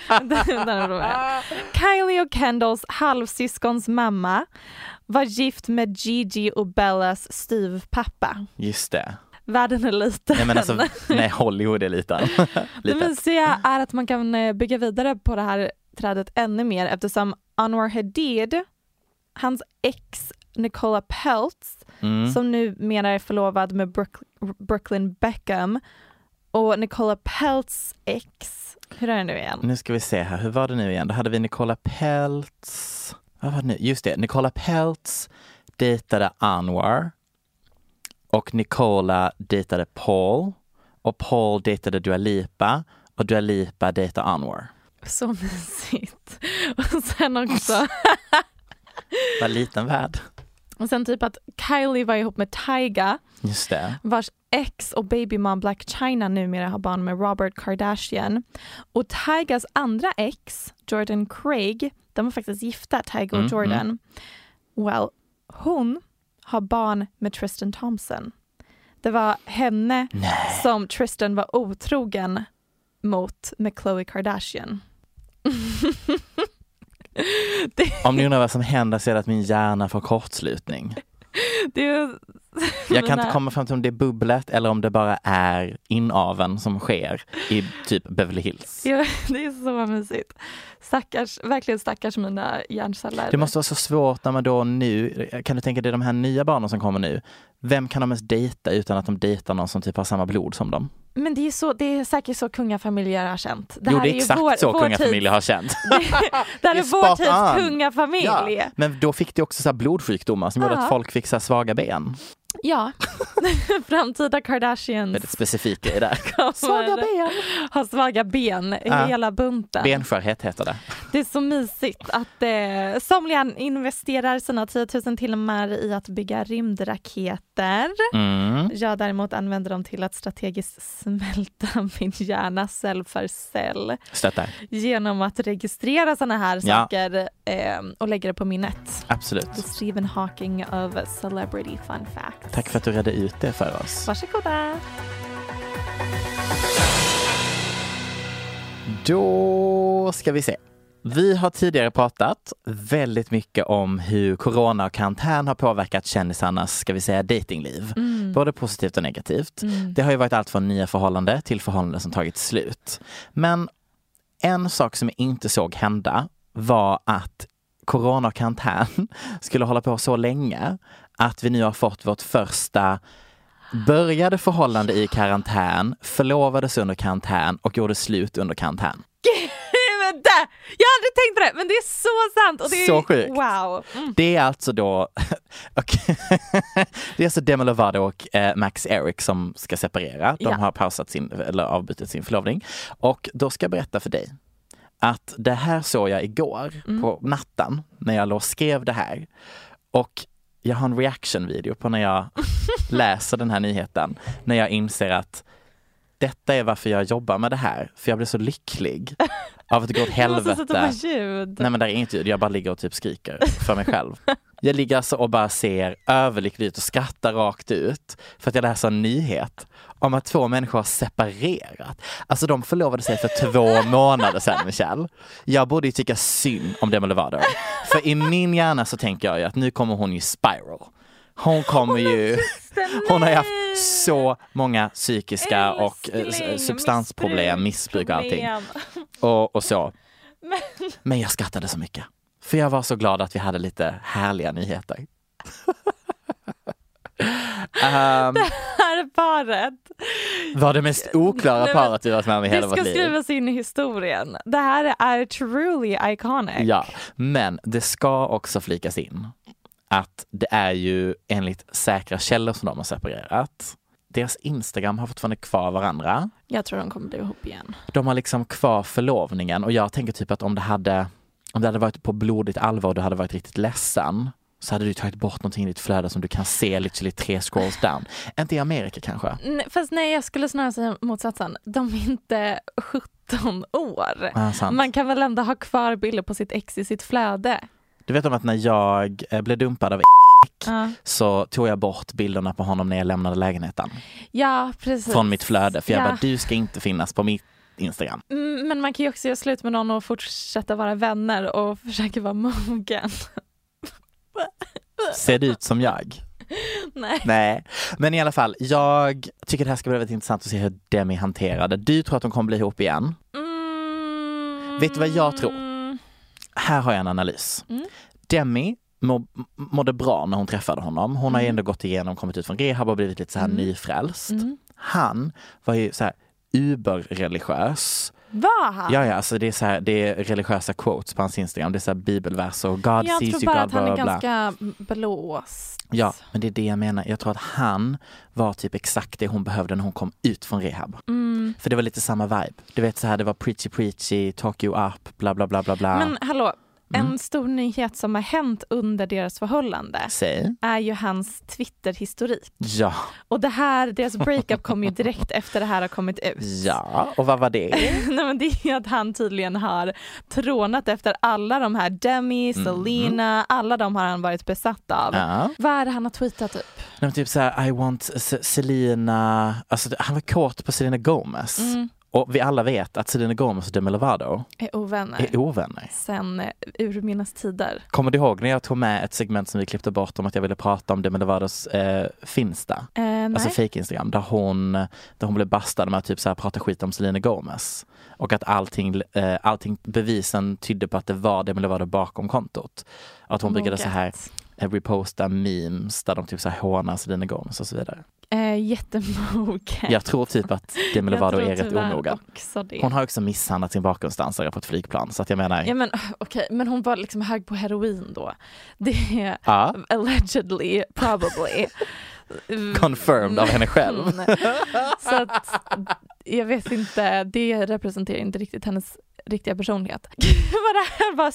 S2: Den- den var bra. Kylie och Kendalls halvsyskons mamma var gift med Gigi och Bellas styvpappa.
S1: Just det.
S2: Världen är liten.
S1: Nej men alltså, nej Hollywood är liten.
S2: Det
S1: liten.
S2: mysiga är att man kan eh, bygga vidare på det här trädet ännu mer eftersom Anwar Hadid, hans ex Nicola Peltz,
S1: Mm.
S2: som numera är förlovad med Brook- Brooklyn Beckham och Nicola Peltz ex, hur är det nu igen?
S1: Nu ska vi se här, hur var det nu igen? Då hade vi Nicola Peltz. Vad var det nu? Just det, Nicola Peltz dejtade Anwar. Och Nicola dejtade Paul. Och Paul dejtade Dua Lipa. Och Dua Lipa dejtade Anwar.
S2: Så mysigt. Och sen också
S1: Vad liten värld.
S2: Och sen typ att Kylie var ihop med Tyga
S1: Just det.
S2: vars ex och babymom Black China numera har barn med Robert Kardashian. Och Tygas andra ex, Jordan Craig, de var faktiskt gifta, Tyga
S1: Mm,
S2: och Jordan. Well, hon har barn med Tristan Thompson. Det var henne som Tristan var otrogen mot med Khloe Kardashian.
S1: Om ni undrar vad som händer så är det att min hjärna får kortslutning.
S2: Det är
S1: Jag kan
S2: mina-
S1: inte komma fram till om det är bubblet eller om det bara är inaveln som sker i typ Beverly Hills.
S2: Ja, det är så mysigt. Stackars, verkligen stackars mina hjärnceller.
S1: Det måste vara så svårt när man då nu, kan du tänka dig de här nya barnen som kommer nu, vem kan de ens dejta utan att de dejtar någon som typ har samma blod som dem?
S2: Men det är, så, det är säkert så kungafamiljer har känt.
S1: jo,
S2: här
S1: det
S2: ju
S1: är exakt
S2: vår-
S1: så
S2: vår
S1: kungafamiljer
S2: tids-
S1: har känt.
S2: Det här är vår
S1: spot on.
S2: tids kungafamilj. Ja.
S1: Men då fick det också så här blodsjukdomar som gjorde
S2: Ja.
S1: att folk fick så här svaga ben.
S2: Framtida Kardashians
S1: Väldigt specifika i det. här.
S2: svaga ben. har svaga ben,
S1: Ja.
S2: hela bunten.
S1: Benskörhet heter det.
S2: Det är så mysigt att eh, somliga investerar sina 10 000 timmar i att bygga rymdraketer.
S1: Mm.
S2: Jag däremot använder dem till att strategiskt smälta min hjärna cell för cell
S1: Stöttar.
S2: genom att registrera såna här
S1: Ja.
S2: saker eh, och lägga det på minnet. The
S1: Absolut.
S2: Stephen Hawking of Celebrity Fun Facts.
S1: Tack för att du redde ut det för oss.
S2: Varsågoda.
S1: Då ska vi se. Vi har tidigare pratat väldigt mycket om hur corona och karantän har påverkat kändisarnas, ska vi säga, datingliv. Både positivt och negativt. Det har ju varit allt från nya förhållanden till förhållanden som tagit slut. Men en sak som jag inte såg hända var att corona och karantän skulle hålla på så länge att vi nu har fått vårt första började förhållande i karantän, förlovades under karantän och gjorde slut under karantän.
S2: Gud! Jag har aldrig tänkt på det, men det är så sant! Och det är,
S1: Så sjukt.
S2: Wow. Mm.
S1: Det är alltså då, och det är alltså Demi Lovato och eh, Max Eric som ska separera. De
S2: Ja.
S1: har pausat sin, eller avbrutit sin förlovning. Och då ska jag berätta för dig att det här såg jag igår
S2: Mm.
S1: på natten när jag låg och skrev det här. Och jag har en reaction-video på när jag läser den här nyheten, när jag inser att detta är varför jag jobbar med det här, för jag blir så lycklig av att det går åt
S2: Jag måste
S1: helvete.
S2: sätta på ljud.
S1: Nej men det är inget ljud, jag bara ligger och typ skriker för mig själv. Jag ligger alltså och bara ser överlycklig ut och skrattar rakt ut för att jag läser en nyhet om att två människor har separerat. Alltså de förlovade sig för två månader sedan Michelle. Jag borde ju tycka synd om Demi Lovato. För i min hjärna så tänker jag ju att nu kommer hon ju spiral. Hon kommer ju... Hon har ju haft så många psykiska och eh, s-
S2: Älskling,
S1: substansproblem, missbruk och allting.
S2: problem.
S1: Och, och så.
S2: Men
S1: Men jag skrattade så mycket. För jag var så glad att vi hade lite härliga nyheter. Ehm,
S2: här paret,
S1: var det mest oklara
S2: Nej, men
S1: paret du varit med om i
S2: det
S1: hela
S2: ska
S1: vårt liv?
S2: skrivas in i historien. Det här är truly iconic.
S1: Ja, men det ska också flikas in att det är ju enligt säkra källor som de har separerat. Deras Instagram har fortfarande kvar varandra.
S2: Jag tror de kommer bli ihop igen.
S1: De har liksom kvar förlovningen och jag tänker typ att om det hade, om det hade varit på blodigt allvar och du hade varit riktigt ledsen så hade du tagit bort någonting i ditt flöde som du kan se literally tre scrolls down. Inte i Amerika kanske.
S2: Nej, Fast nej, jag skulle snarare säga motsatsen. De är inte 17 år.
S1: Ja, sant.
S2: Man kan väl ändå ha kvar bilder på sitt ex i sitt flöde.
S1: Du vet om att när jag eh, blev dumpad av
S2: Ja,
S1: så tog jag bort bilderna på honom när jag lämnade lägenheten
S2: ja precis.
S1: från mitt flöde för jag
S2: Ja.
S1: bara du ska inte finnas på mitt Instagram.
S2: Mm, Men man kan ju också göra slut med någon och fortsätta vara vänner och försöka vara mogen.
S1: Ser du ut som jag?
S2: Nej.
S1: Nej, men i alla fall, jag tycker det här ska bli väldigt intressant att se hur Demi hanterar det. Du tror att de kommer bli ihop igen.
S2: Mm.
S1: Vet du vad jag tror? Här har jag en analys.
S2: Mm.
S1: Demi må, mådde bra när hon träffade honom. Hon har
S2: Mm.
S1: ju ändå gått igenom, kommit ut från rehab och blivit lite så här nyfrälst.
S2: Mm.
S1: Han var ju så här uberreligiös.
S2: Var han?
S1: Ja, ja, alltså det är, så här, det är religiösa quotes på hans Instagram. Det är så här bibelverser och God
S2: jag
S1: sees
S2: tror
S1: you,
S2: bara
S1: God
S2: att han
S1: bla
S2: är
S1: bla. bla.
S2: ganska blåst.
S1: Ja, men det är det jag menar. Jag tror att han var typ exakt det hon behövde när hon kom ut från rehab.
S2: Mm.
S1: För det var lite samma vibe. Du vet så här, det var preachy preachy, talk you up, bla bla bla bla bla.
S2: Men hallå,
S1: Mm.
S2: En stor nyhet som har hänt under deras förhållande
S1: Säg.
S2: är ju hans Twitter-historik.
S1: Ja.
S2: Och det här, deras breakup kom ju direkt efter det här har kommit ut.
S1: Ja, och vad var det?
S2: Nej, men det är ju att han tydligen har trånat efter alla de här, Demi, Selena, alla de har han varit besatt av.
S1: Mm, Ja.
S2: Vad är det han har tweetat upp?
S1: Nej, men typ så här, I want S- Selena, alltså det- han var kåt på Selena Gomez.
S2: Mm.
S1: Och vi alla vet att Selena Gomez och Demi Lovato
S2: Är ovänner.
S1: är ovänner.
S2: Sen eh, urminnes tider.
S1: Kommer du ihåg när jag tog med ett segment som vi klippte bort om att jag ville prata om Demi Lovatos eh, Finsta?
S2: Eh, nej.
S1: Alltså fake Instagram där hon, där hon blev bastad med att typ så här prata skit om Selena Gomez. Och att allting, eh, allting bevisen tydde på att det var Demi Lovato bakom kontot. Att
S2: Mm,
S1: hon brukade så här eh, reposta memes där de typ så här hånar Selena Gomez och så vidare.
S2: eh, jättemogen.
S1: Jag tror typ att Demi
S2: Jag
S1: Lovato
S2: tror
S1: är rätt
S2: tyvärr
S1: onoga.
S2: också det.
S1: Hon har också misshandlat sin bakgrundsdansare på ett flygplan så att jag menar,
S2: Ja men okej, men hon var liksom hög på heroin då. Det är
S1: ja,
S2: allegedly, probably.
S1: confirmed av henne själv.
S2: Mm. Så att jag vet inte, det representerar inte riktigt hennes riktiga personlighet. Gud vad det här var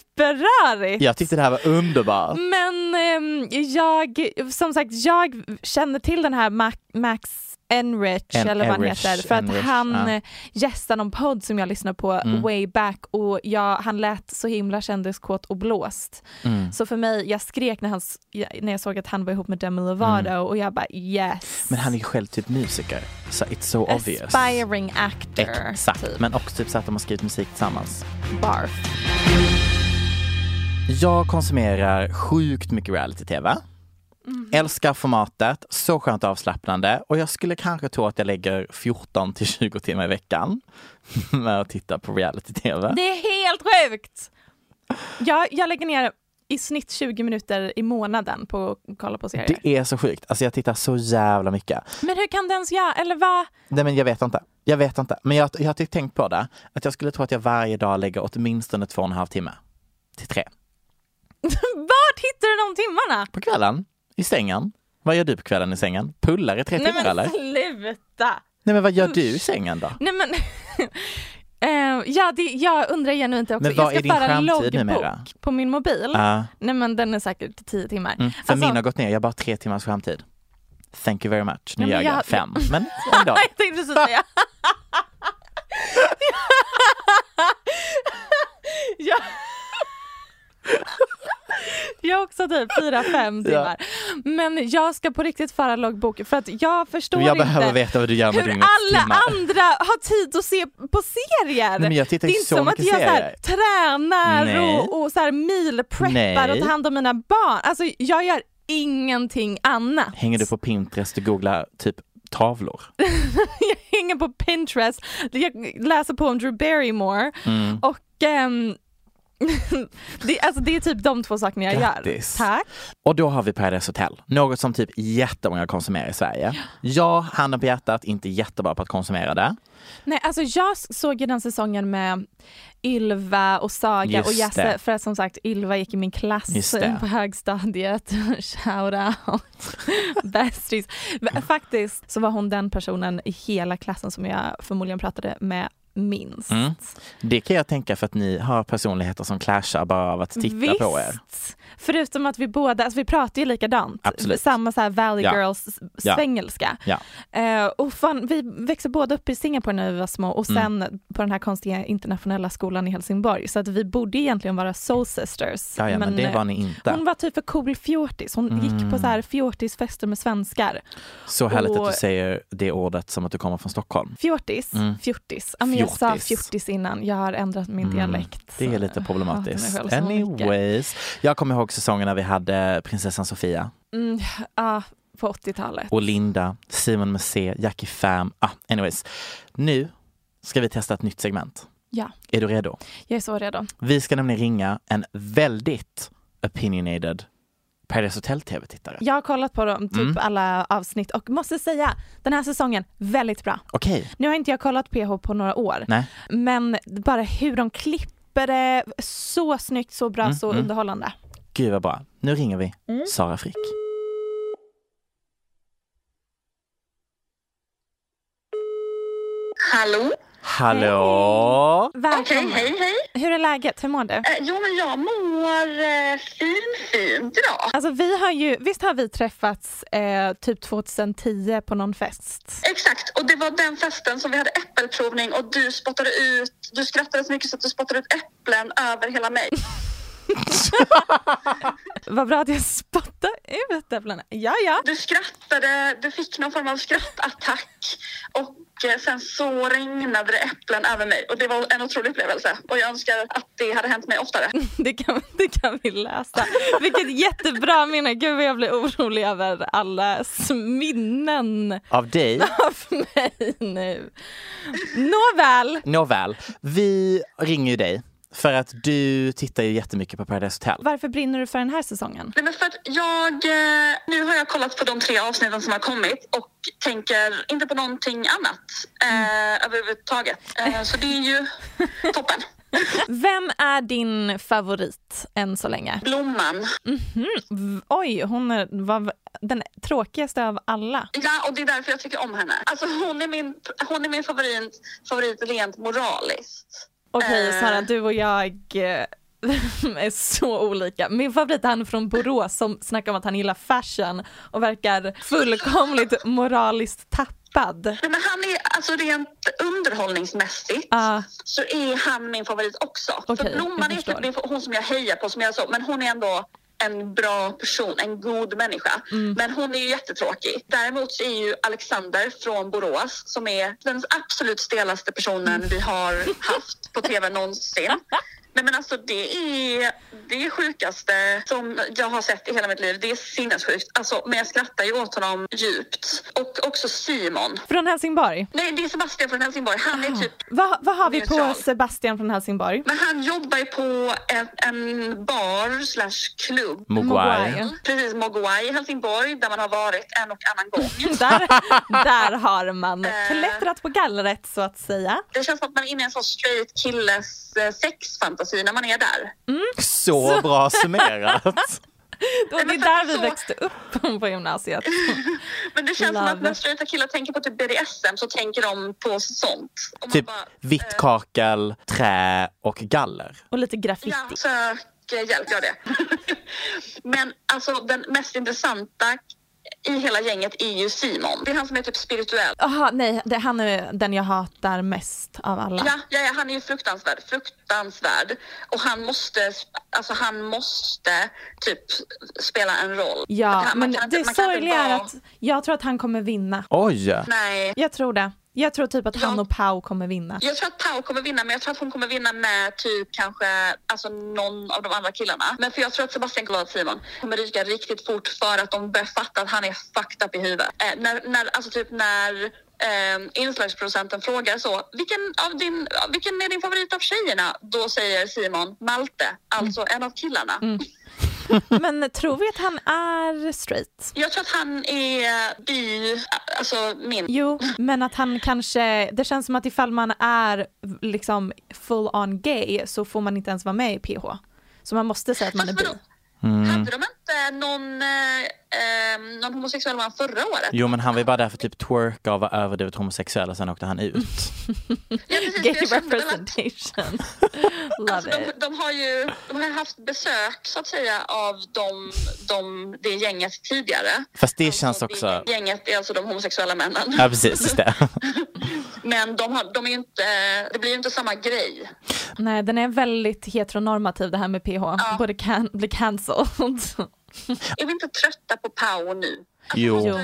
S2: superrörigt!
S1: Jag tyckte det här var underbart.
S2: Mm. Men ehm, jag, som sagt, jag känner till den här Mac, Max Enrich
S1: En-
S2: eller vad han
S1: Enrich,
S2: heter för att
S1: Enrich,
S2: han
S1: ja.
S2: eh, gästar någon podd som jag lyssnar på
S1: Mm.
S2: way back och jag, han lät så himla kändiskåt och blåst.
S1: Mm.
S2: Så för mig, jag skrek när, han, s- när jag såg att han var ihop med Demi Lovato och jag bara yes.
S1: Mm. Men han är ju själv typ musiker, så it's so obvious.
S2: Aspiring actor.
S1: Exakt, men också typ så att de har skrivit musik tillsammans.
S2: Barf.
S1: Jag konsumerar sjukt mycket reality-tv.
S2: Mm.
S1: Älskar formatet, så skönt avslappnande och jag skulle kanske tro att jag lägger 14 till 20 timmar i veckan med att titta på reality-tv.
S2: Det är helt sjukt! Jag, jag lägger ner i snitt 20 minuter i månaden på att kolla på serier.
S1: Det är så sjukt, alltså jag tittar så jävla mycket.
S2: Men hur kan det ens jag, eller vad?
S1: Nej men jag vet inte. Jag vet inte. Men jag, jag har typ tänkt på det. Att jag skulle tro att jag varje dag lägger åtminstone två och en halv timme. Till tre.
S2: Vart hittar du de timmarna?
S1: På kvällen. I sängen. Vad gör du på kvällen i sängen? Pullar i tre
S2: Nej
S1: timmar
S2: men
S1: eller?
S2: sluta!
S1: Nej men vad gör du i sängen då?
S2: Nej men, Eh, ja, det, jag undrar genuint också.
S1: Men vad
S2: jag
S1: är din
S2: ska föra en
S1: skärmtid
S2: loggbok
S1: numera?
S2: på min mobil.
S1: Ja.
S2: Nej men den är säkert 10 timmar. Alltså,
S1: Mm, för min har gått ner, jag har bara tre timmars skärmtid. Thank you very much. Nu
S2: Nej, men
S1: gör jag,
S2: jag-
S1: fem. Men ändå.
S2: jag tänkte precis säga. jag... jag har också typ fyra fem timmar. Men jag ska på riktigt föra loggbok för att jag förstår
S1: Jag behöver
S2: inte
S1: veta vad du gör med
S2: hur
S1: dygnets
S2: alla
S1: timmar.
S2: andra har tid att se på serier.
S1: Nej, men jag tittar
S2: det
S1: ju
S2: är inte
S1: så
S2: som att
S1: mycket
S2: jag så här,
S1: serier. Nej.
S2: tränar och, och så här milpreppar och
S1: Nej.
S2: tar hand om mina barn. Alltså jag gör ingenting annat.
S1: Hänger du på Pinterest och googlar typ tavlor?
S2: jag hänger på Pinterest, jag läser på om Drew Barrymore
S1: Mm.
S2: och ehm, det, alltså det är typ de två sakerna jag
S1: Grattis.
S2: gör. Tack.
S1: Och då har vi Paradise Hotel, något som typ jättemånga konsumerar i Sverige. Jag, handen på hjärtat, inte jättebra på att konsumera det.
S2: Nej, alltså jag s- såg ju den säsongen med Ylva och Saga
S1: Just
S2: och Jesse
S1: det.
S2: för att som sagt Ylva gick i min klass
S1: Just det.
S2: på högstadiet. Shout out. Bästis. Men Faktiskt så var hon den personen i hela klassen som jag förmodligen pratade med minst.
S1: Mm. Det kan jag tänka för att ni har personligheter som clashar bara av att titta på er.
S2: Visst! Förutom att vi båda, alltså vi pratar ju likadant.
S1: Absolut.
S2: Samma så här Valley
S1: Ja.
S2: Girls
S1: Ja.
S2: svängelska.
S1: Ja.
S2: Eh, och fan, vi växte båda upp i Singapore när vi var små och
S1: Mm.
S2: sen på den här konstiga internationella skolan i Helsingborg. Så att vi borde egentligen vara soul sisters.
S1: Ja, ja, men, det
S2: eh,
S1: var Mm. ni inte.
S2: hon var typ för cool fjortis. Hon gick på så här fjortisfester med svenskar.
S1: Så härligt
S2: och-
S1: att du säger det ordet som att du kommer från Stockholm.
S2: Fjortis? Fjortis. Ja, men jag
S1: Mm.
S2: sa
S1: Fjortis. Mm.
S2: fjortis innan. Jag har ändrat min dialekt.
S1: Det är
S2: så
S1: lite
S2: jag
S1: problematiskt.
S2: hatar mig själv så mycket.
S1: Anyways. Jag kommer ihåg säsongen när vi hade prinsessan Sofia
S2: Mm, ja, på 80-talet.
S1: och Linda, Simon Mussé, Jackie Pham. Ah, anyways. Nu ska vi testa ett nytt segment.
S2: Ja,
S1: Är du redo?
S2: jag är så redo.
S1: Vi ska nämligen ringa en väldigt opinionated Paradise Hotel TV-tittare.
S2: Jag har kollat på dem, typ
S1: Mm.
S2: alla avsnitt och måste säga, den här säsongen, väldigt bra.
S1: Okej,
S2: Nu har inte jag kollat PH på några år,
S1: nej.
S2: men bara hur de klipper det, så snyggt, så bra, så underhållande.
S1: Gud vad bra. Nu ringer vi
S2: Mm.
S1: Sara Frick.
S9: Hallå?
S1: Hallå?
S2: Välkommen.
S9: Hej, hej,
S2: Hur är läget? Hur mår du?
S9: Mm-hmm. Eh, Jo, men jag mår eh, fin, fint idag.
S2: Alltså vi har ju, visst har vi träffats eh, typ 2010 på någon fest?
S9: Exakt, och det var den festen som vi hade äppelprovning och du spottade ut, du skrattade så mycket så att du spottade ut äpplen över hela mig.
S2: Vad bra att jag spottade ut äpplena. Ja, ja.
S9: Du skrattade, du fick någon form av skrattattack och eh, sen så regnade det äpplen över mig och det var en otrolig upplevelse och jag önskar att det hade hänt mig oftare.
S2: Det kan, det kan vi lösa. Vilket jättebra minne. Gud vad jag blir orolig över alla minnen
S1: Av dig?
S2: av mig nu. Nåväl.
S1: Nåväl, vi ringer ju dig för att du tittar ju jättemycket på Paradise Hotel.
S2: Varför brinner du för den här säsongen?
S9: Nej, men för att jag, eh, nu har jag kollat på de tre avsnitten som har kommit och tänker inte på någonting annat eh, överhuvudtaget. Eh, så det är ju toppen.
S2: Vem är din favorit än så länge?
S9: Blomman.
S2: Mhm. V- Oj, hon är, var den tråkigaste av alla.
S9: Ja, och det är därför jag tycker om henne. Alltså, hon är min, hon är min favorit, favorit rent moraliskt.
S2: Okej
S9: Eh.
S2: Sara, du och jag eh, är så olika. Min favorit är han från Borås som snackar om att han gillar fashion och verkar fullkomligt moraliskt tappad.
S9: Nej, men han är, alltså, rent underhållningsmässigt så är han min favorit också.
S2: Ah. Okej,
S9: för Blomman
S2: jag
S9: är
S2: förstår.
S9: typ min, hon som jag hejar på, som jag så, men hon är ändå en bra person, en god människa.
S2: Mm.
S9: Men hon är ju jättetråkig. Däremot så är ju Alexander från Borås som är den absolut stelaste personen vi har haft på tv någonsin. Nej men alltså det är det sjukaste som jag har sett i hela mitt liv. Det är sinnessjukt. Alltså, men jag skrattar ju åt honom djupt. Och också Simon.
S2: Från Helsingborg?
S9: Nej, det är Sebastian från Helsingborg. Han är typ...
S2: Vad, vad har vi på
S9: Neutral.
S2: Sebastian från Helsingborg?
S9: Men han jobbar ju på en, en bar slash klubb.
S1: Mogwai.
S9: Precis, Mogwai i Helsingborg där man har varit en och annan gång.
S2: där, där har man
S9: Eh.
S2: klättrat på gallret så att säga.
S9: Det känns som att man är inne i en sån straight killes eh, sexfantasi när man är där.
S1: Så bra summerat.
S2: Och det är där vi växte upp på gymnasiet.
S9: Men det känns som att
S2: Love.
S9: när straighta killar tänker på typ BDSM så tänker de på sånt. Och man
S1: Typ
S9: bara, eh,
S1: vitt kakel, trä och galler.
S2: Och lite graffiti.
S9: Ja, sök eh, hjälp, gör det. Men alltså den mest intressanta i hela gänget är ju Simon. Det är han som är typ spirituell.
S2: Aha, nej, det, han är den jag hatar mest av alla.
S9: Ja, ja, ja, han är ju fruktansvärd. Fruktansvärd. Och han måste, alltså han måste typ spela en roll.
S2: Ja,
S9: Att han- man
S2: men
S9: kan inte-
S2: det
S9: man kan inte
S2: sorgliga är
S9: vara-
S2: att jag tror att han kommer vinna.
S1: Oj!
S9: Nej.
S2: Jag tror det. Jag tror typ att han och Pau kommer vinna.
S9: Jag tror att Pau kommer vinna, men jag tror att hon kommer vinna med typ kanske alltså någon av de andra killarna. Men för jag tror att Sebastian kommer vara Simon. kommer ryka riktigt fort för att de börjar fatta att han är fucked up i huvudet. Eh, när, när, alltså typ när ehm, inslagsproducenten frågar så, vilken, av din, vilken är din favorit av tjejerna? Då säger Simon Malte, alltså en av killarna.
S2: Men tror vi att han är straight?
S9: Jag tror att han är bi, alltså min.
S2: Jo, men att han kanske, det känns som att ifall man är liksom full on gay så får man inte ens vara med i PH. Så man måste säga att man är bi.
S1: Mm.
S9: Hade de inte någon, eh, ehm, någon homosexuell man förra året?
S1: Jo men han var ju bara där för typ twerka och var överdrivet homosexuell och sen åkte han ut.
S2: Gay representation. Love
S9: Alltså, de,
S2: it.
S9: de har ju de har ju haft besök så att säga av de, de, det gänget tidigare.
S1: Fast det känns också...
S9: Alltså, Det gänget är alltså de homosexuella männen.
S1: Ja precis, just det.
S9: Men de har, de är ju inte, det blir ju inte samma grej.
S2: Nej, den är väldigt heteronormativ det här med PH. Borde can- bli cancelled.
S9: Är vi inte trötta på Pau nu? Alltså,
S1: Jo.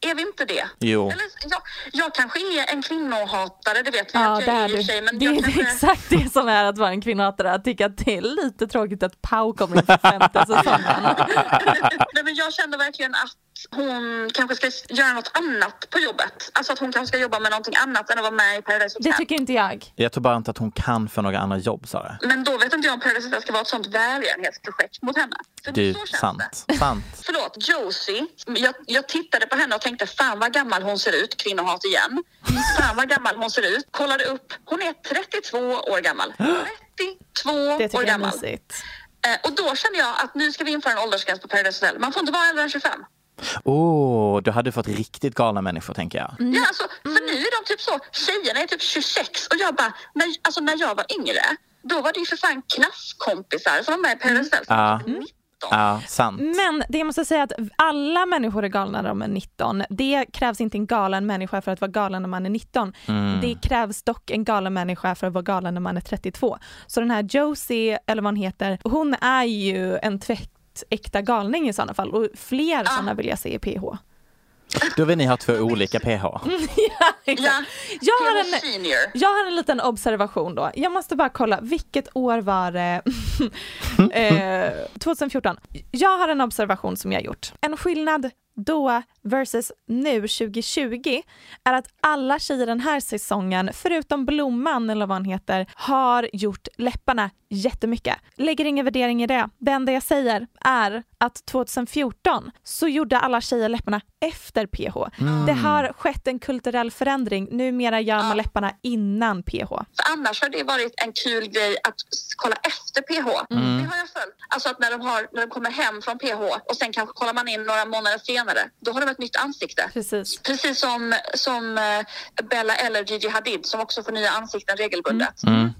S9: Är vi inte det?
S1: Jo.
S9: Eller, jag, jag kanske är en kvinnohatare, det vet vi
S2: Ja,
S9: att
S2: det
S9: jag är i och
S2: är
S9: för
S2: du.
S9: sig. Men
S2: Det
S9: jag
S2: är
S9: kanske,
S2: exakt det som är att vara en kvinnohatare, att tycka att det är lite tråkigt att Pau kommer in för femte säsongen.
S9: nej, men jag känner verkligen att hon kanske ska göra något annat på jobbet. Alltså att hon kanske ska jobba med någonting annat än att vara med i Paradise Hotel.
S2: Det tycker inte jag.
S1: Jag tror bara inte att hon kan få några andra jobb Sara.
S9: Men då vet inte jag om Paradise Hotel ska vara ett sånt välgörenhetsprojekt mot henne. För
S1: Du,
S9: så känns det.
S1: sant. Sant.
S9: Förlåt, Josie. Jag, jag tittade på henne och tänkte fan vad gammal hon ser ut, kvinnohat igen. Fan vad gammal hon ser ut. Kollade upp, hon är 32 år gammal. 32
S2: Det tycker
S9: år
S2: jag är
S9: gammal.
S2: mysigt.
S9: Eh, och då kände jag att nu ska vi införa en åldersgräns på Paradise Hotel. Man får inte vara äldre än 25.
S1: Åh, oh, du hade fått riktigt galna människor tänker jag.
S9: Mm.
S2: Mm.
S9: Ja, alltså, för nu är de typ så, tjejerna är typ 26 och jag bara, när, alltså när jag var yngre, då var det ju för fan klasskompisar som var
S2: Mm.
S9: med i Paradise Hotel.
S1: Ja, ja sant.
S2: Men det jag måste säga är att alla människor är galna när de är 19. Det krävs inte en galen människa för att vara galen när man är 19.
S1: Mm.
S2: Det krävs dock en galen människa för att vara galen när man är 32. Så den här Josie, eller vad hon heter, hon är ju en tvättäkta galning i sådana fall och fler sådana vill jag se i PH.
S1: Då vill ni ha två olika PH.
S2: ja, exakt. jag, har
S9: PH
S2: en,
S9: senior.
S2: jag har en liten observation då. Jag måste bara kolla, vilket år var det? eh, 2014. Jag har en observation som jag gjort. En skillnad då versus nu 2020 är att alla tjejer den här säsongen, förutom Blomman eller vad han heter, har gjort läpparna jättemycket. Lägger ingen värdering i det. Det enda jag säger är att 2014 så gjorde alla tjejer läpparna efter PH.
S9: Mm.
S2: Det har skett en kulturell förändring. Numera gör man läpparna innan PH.
S9: För annars har det varit en kul grej att s- kolla efter PH.
S2: Mm.
S9: Det har jag följt. Alltså att när de, har, när de kommer hem från PH och sen kanske kollar man in några månader senare, då har de ett nytt ansikte.
S2: Precis.
S9: Precis som, som eh, Bella eller Gigi Hadid som också får nya ansikten regelbundet.
S1: Mm.
S9: Eh,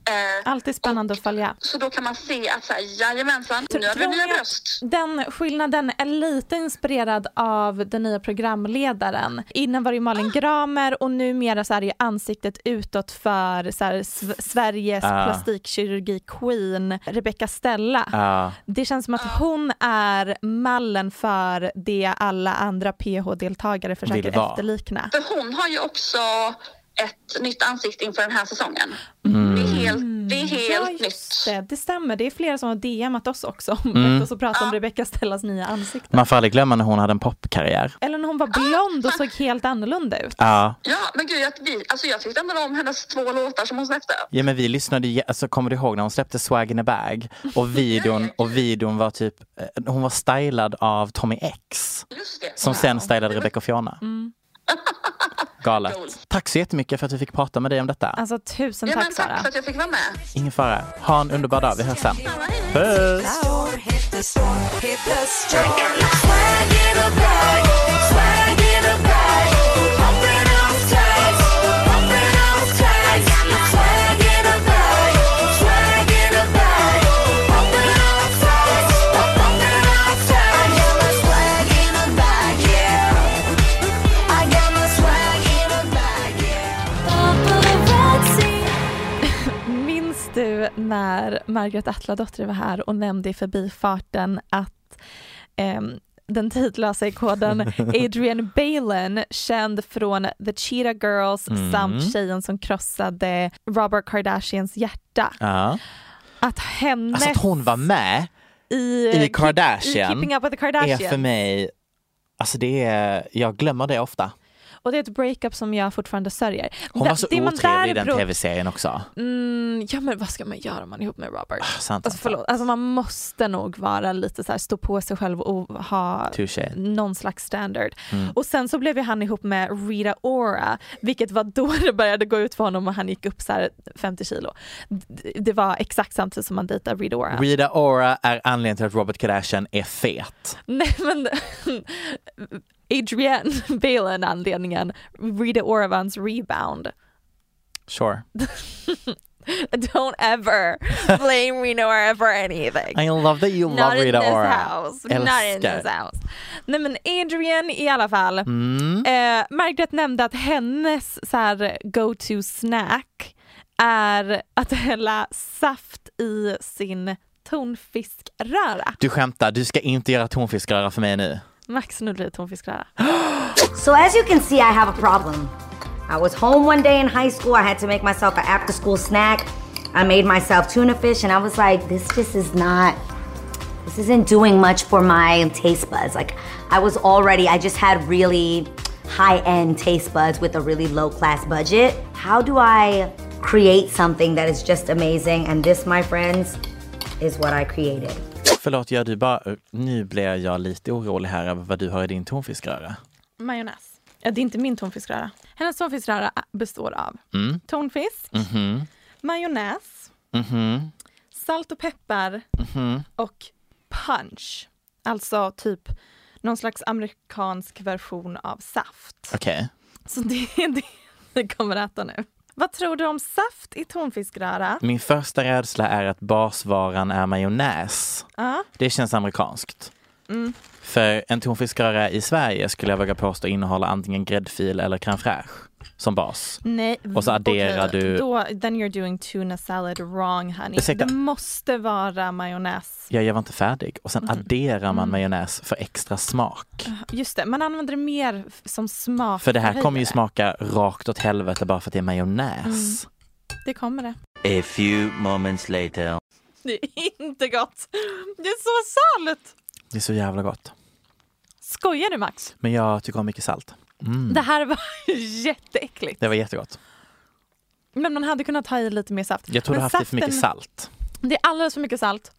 S2: Alltid spännande att följa.
S9: så då kan man se att så här, jajamensan, nu har vi
S2: Typ Tror ni
S9: nya
S2: att
S9: bröst.
S2: Den skillnaden är lite inspirerad av den nya programledaren. Innan var det ju
S1: Ah.
S2: Malin Gramer och numera så är det ju ansiktet utåt för så här, Sv- Sveriges
S1: Ah.
S2: plastikkirurgi-queen Rebecca Stella.
S1: Ja.
S2: Det känns som att
S1: Ah.
S2: hon är mallen för det alla andra PH-deltagare försöker
S1: Vill vara.
S2: efterlikna.
S9: För hon har ju också ett nytt ansikte inför den här säsongen.
S1: Mm.
S9: Det är helt, det är helt
S2: Mm. ja, just det. det stämmer, det är flera som har DMat oss också om
S1: Mm.
S2: och så pratar om Rebecca Stellas nya ansikte.
S1: Man får aldrig glömma när hon hade en popkarriär.
S2: Eller när hon var blond och såg helt annorlunda ut.
S1: Ja.
S9: Ja, men gud, jag, vi, alltså jag tyckte ändå om hennes två låtar som hon släppte.
S1: Ja men vi lyssnade ju, alltså kommer du ihåg när hon släppte Swag in a bag? Och videon, och videon var typ, eh, hon var stylad av Tommy X. Som sen stylade Rebecca och Fiona.
S2: Mm.
S1: Galet. Tack så jättemycket för att vi fick prata med dig om detta.
S2: Alltså tusen
S9: Ja,
S2: tack,
S9: men
S2: Sara.
S9: tack för att jag fick vara med.
S1: Ingen fara. Ha en underbar dag, vi hörs sen. Puss!
S2: Minns du när Margaret Atladotter var här och nämnde i förbifarten att ehm, den tidlösa ikonen Adrian Balen, känd från The Cheetah Girls
S1: Mm.
S2: samt tjejen som krossade Robert Kardashians hjärta.
S1: Ja.
S2: Att hennes
S1: Alltså att hon var med
S2: i,
S1: i
S2: Keep- i
S1: Kardashian
S2: Keeping Up With The
S1: är
S2: Kardashians
S1: för mig, alltså det är, jag glömmer det ofta.
S2: och det är ett breakup som jag fortfarande sörjer.
S1: Hon
S2: Det-
S1: var så
S2: det man där
S1: otrevlig i den
S2: bråkar-
S1: tv-serien också.
S2: Mm, ja men vad ska man göra om man är ihop med Robert?
S1: sant,
S2: alltså, förlåt, alltså man måste nog vara lite så här, stå på sig själv och ha
S1: Touché.
S2: någon slags standard.
S1: Mm.
S2: Och sen så blev ju han ihop med Rita Ora, vilket var då det började gå ut för honom och han gick upp så här 50 kilo. D- Det var exakt samtidigt som han dejtade Rita Ora.
S1: Rita Ora är anledningen till att Robert Kardashian är fet.
S2: Nej men Adrienne Balen anledningen, Rita Ora var hans rebound.
S1: Sure.
S2: Don't ever blame Rita Ora for anything.
S1: I love that you
S2: Not
S1: love Rita
S2: in this
S1: Ora.
S2: house. Not in
S1: Älskar.
S2: this house. Nej men Adrian i alla fall.
S1: Mm.
S2: Eh, Margaret nämnde att hennes så här, go-to snack är att hälla saft i sin tonfiskröra.
S1: Du skämtar, du ska inte göra tonfiskröra för mig nu.
S2: Max nu blir det tonfiskröra.
S10: So, as you can see, I have a problem. I was home one day in high school. I had to make myself an after school snack. I made myself tuna fish, and I was like, this just is not, this isn't doing much for my taste buds. Like, I was already, I just had really high end taste buds with a really low class budget. How do I create something that is just amazing? And this, my friends, is what I created.
S1: Förlåt, gör du bara, nu blir jag lite orolig här över vad du har i din tonfiskröra.
S2: Majonnäs. Ja, det är inte min tonfiskröra. Hennes tonfiskröra består av
S1: Mm.
S2: tonfisk,
S1: Mhm.
S2: majonnäs,
S1: Mhm.
S2: salt och peppar
S1: Mhm.
S2: och punch. Alltså typ någon slags amerikansk version av saft.
S1: Okej.
S2: Så det är det. vi kommer att äta nu. Vad tror du om saft i tonfiskröra?
S1: Min första rädsla är att basvaran är majonnäs.
S2: Ja.
S1: Det känns amerikanskt.
S2: Mm.
S1: För en tonfiskröra i Sverige skulle jag våga påstå innehåller antingen gräddfil eller crème fraîche som bas.
S2: Nej,
S1: Och så adderar
S2: okej,
S1: du...
S2: Då, then you're doing tuna salad wrong honey.
S1: Ursäkta.
S2: Det måste vara majonnäs.
S1: Ja, jag var inte färdig. Och sen
S2: Mm.
S1: adderar man
S2: Mm.
S1: majonnäs för extra smak.
S2: Just det, man använder det mer f- som smak.
S1: För det här kommer ju smaka rakt åt helvete bara för att det är majonnäs.
S2: Mm. Det kommer det.
S11: A few moments later.
S2: Det är inte gott. Det är så salt!
S1: Det är så jävla gott.
S2: Skojar du Max?
S1: Men jag tycker om mycket salt. Mm.
S2: Det här var jätteäckligt.
S1: Det var jättegott.
S2: Men man hade kunnat ha i lite mer saft.
S1: Jag tror du har
S2: Men
S1: haft i för mycket
S2: saften-
S1: salt.
S2: Det är alldeles för mycket salt.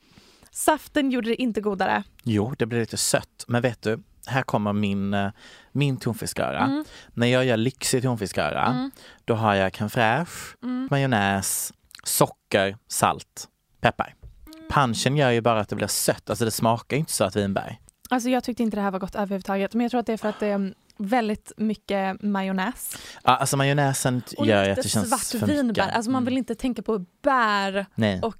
S2: Saften gjorde det inte godare.
S1: Jo, det blir lite sött. Men vet du, här kommer min, eh, min tonfisköra.
S2: Mm.
S1: När jag gör lyxig tonfisköra,
S2: Mm.
S1: då har jag crème fraîche,
S2: Mm.
S1: majonnäs, socker, salt, peppar. Punchen gör ju bara att det blir sött, alltså det smakar ju inte sött vinbär.
S2: Alltså jag tyckte inte det här var gott överhuvudtaget. Men jag tror att det är för att det är väldigt mycket majonnäs.
S1: Ja, alltså majonnäsen t-
S2: Och
S1: gör ju att
S2: lite
S1: det känns
S2: svart
S1: för mycket. Mm.
S2: vinbär. Alltså man vill inte tänka på bär
S1: Nej.
S2: och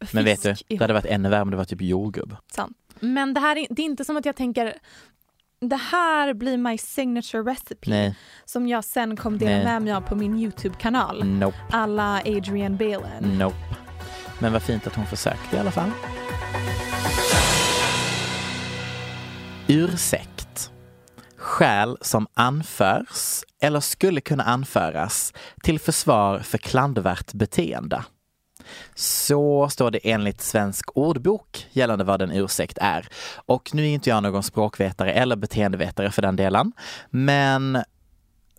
S2: fisk
S1: Men vet du, det
S2: ihop.
S1: hade varit ännu värre om det var typ jordgubb.
S2: Sant. Men det här är, det är inte som att jag tänker det här blir my signature recipe
S1: Nej,
S2: som jag sen kommer dela
S1: Nej. Mm.
S2: med mig av på min YouTube-kanal.
S1: nope,
S2: Alla Adrian Balin.
S1: nope. Men vad fint att hon försökte i alla fall. Ursäkt. Skäl som anförs eller skulle kunna anföras till försvar för klandervärt beteende. Så står det enligt Svensk ordbok gällande vad en ursäkt är. Och nu är inte jag någon språkvetare eller beteendevetare för den delen. Men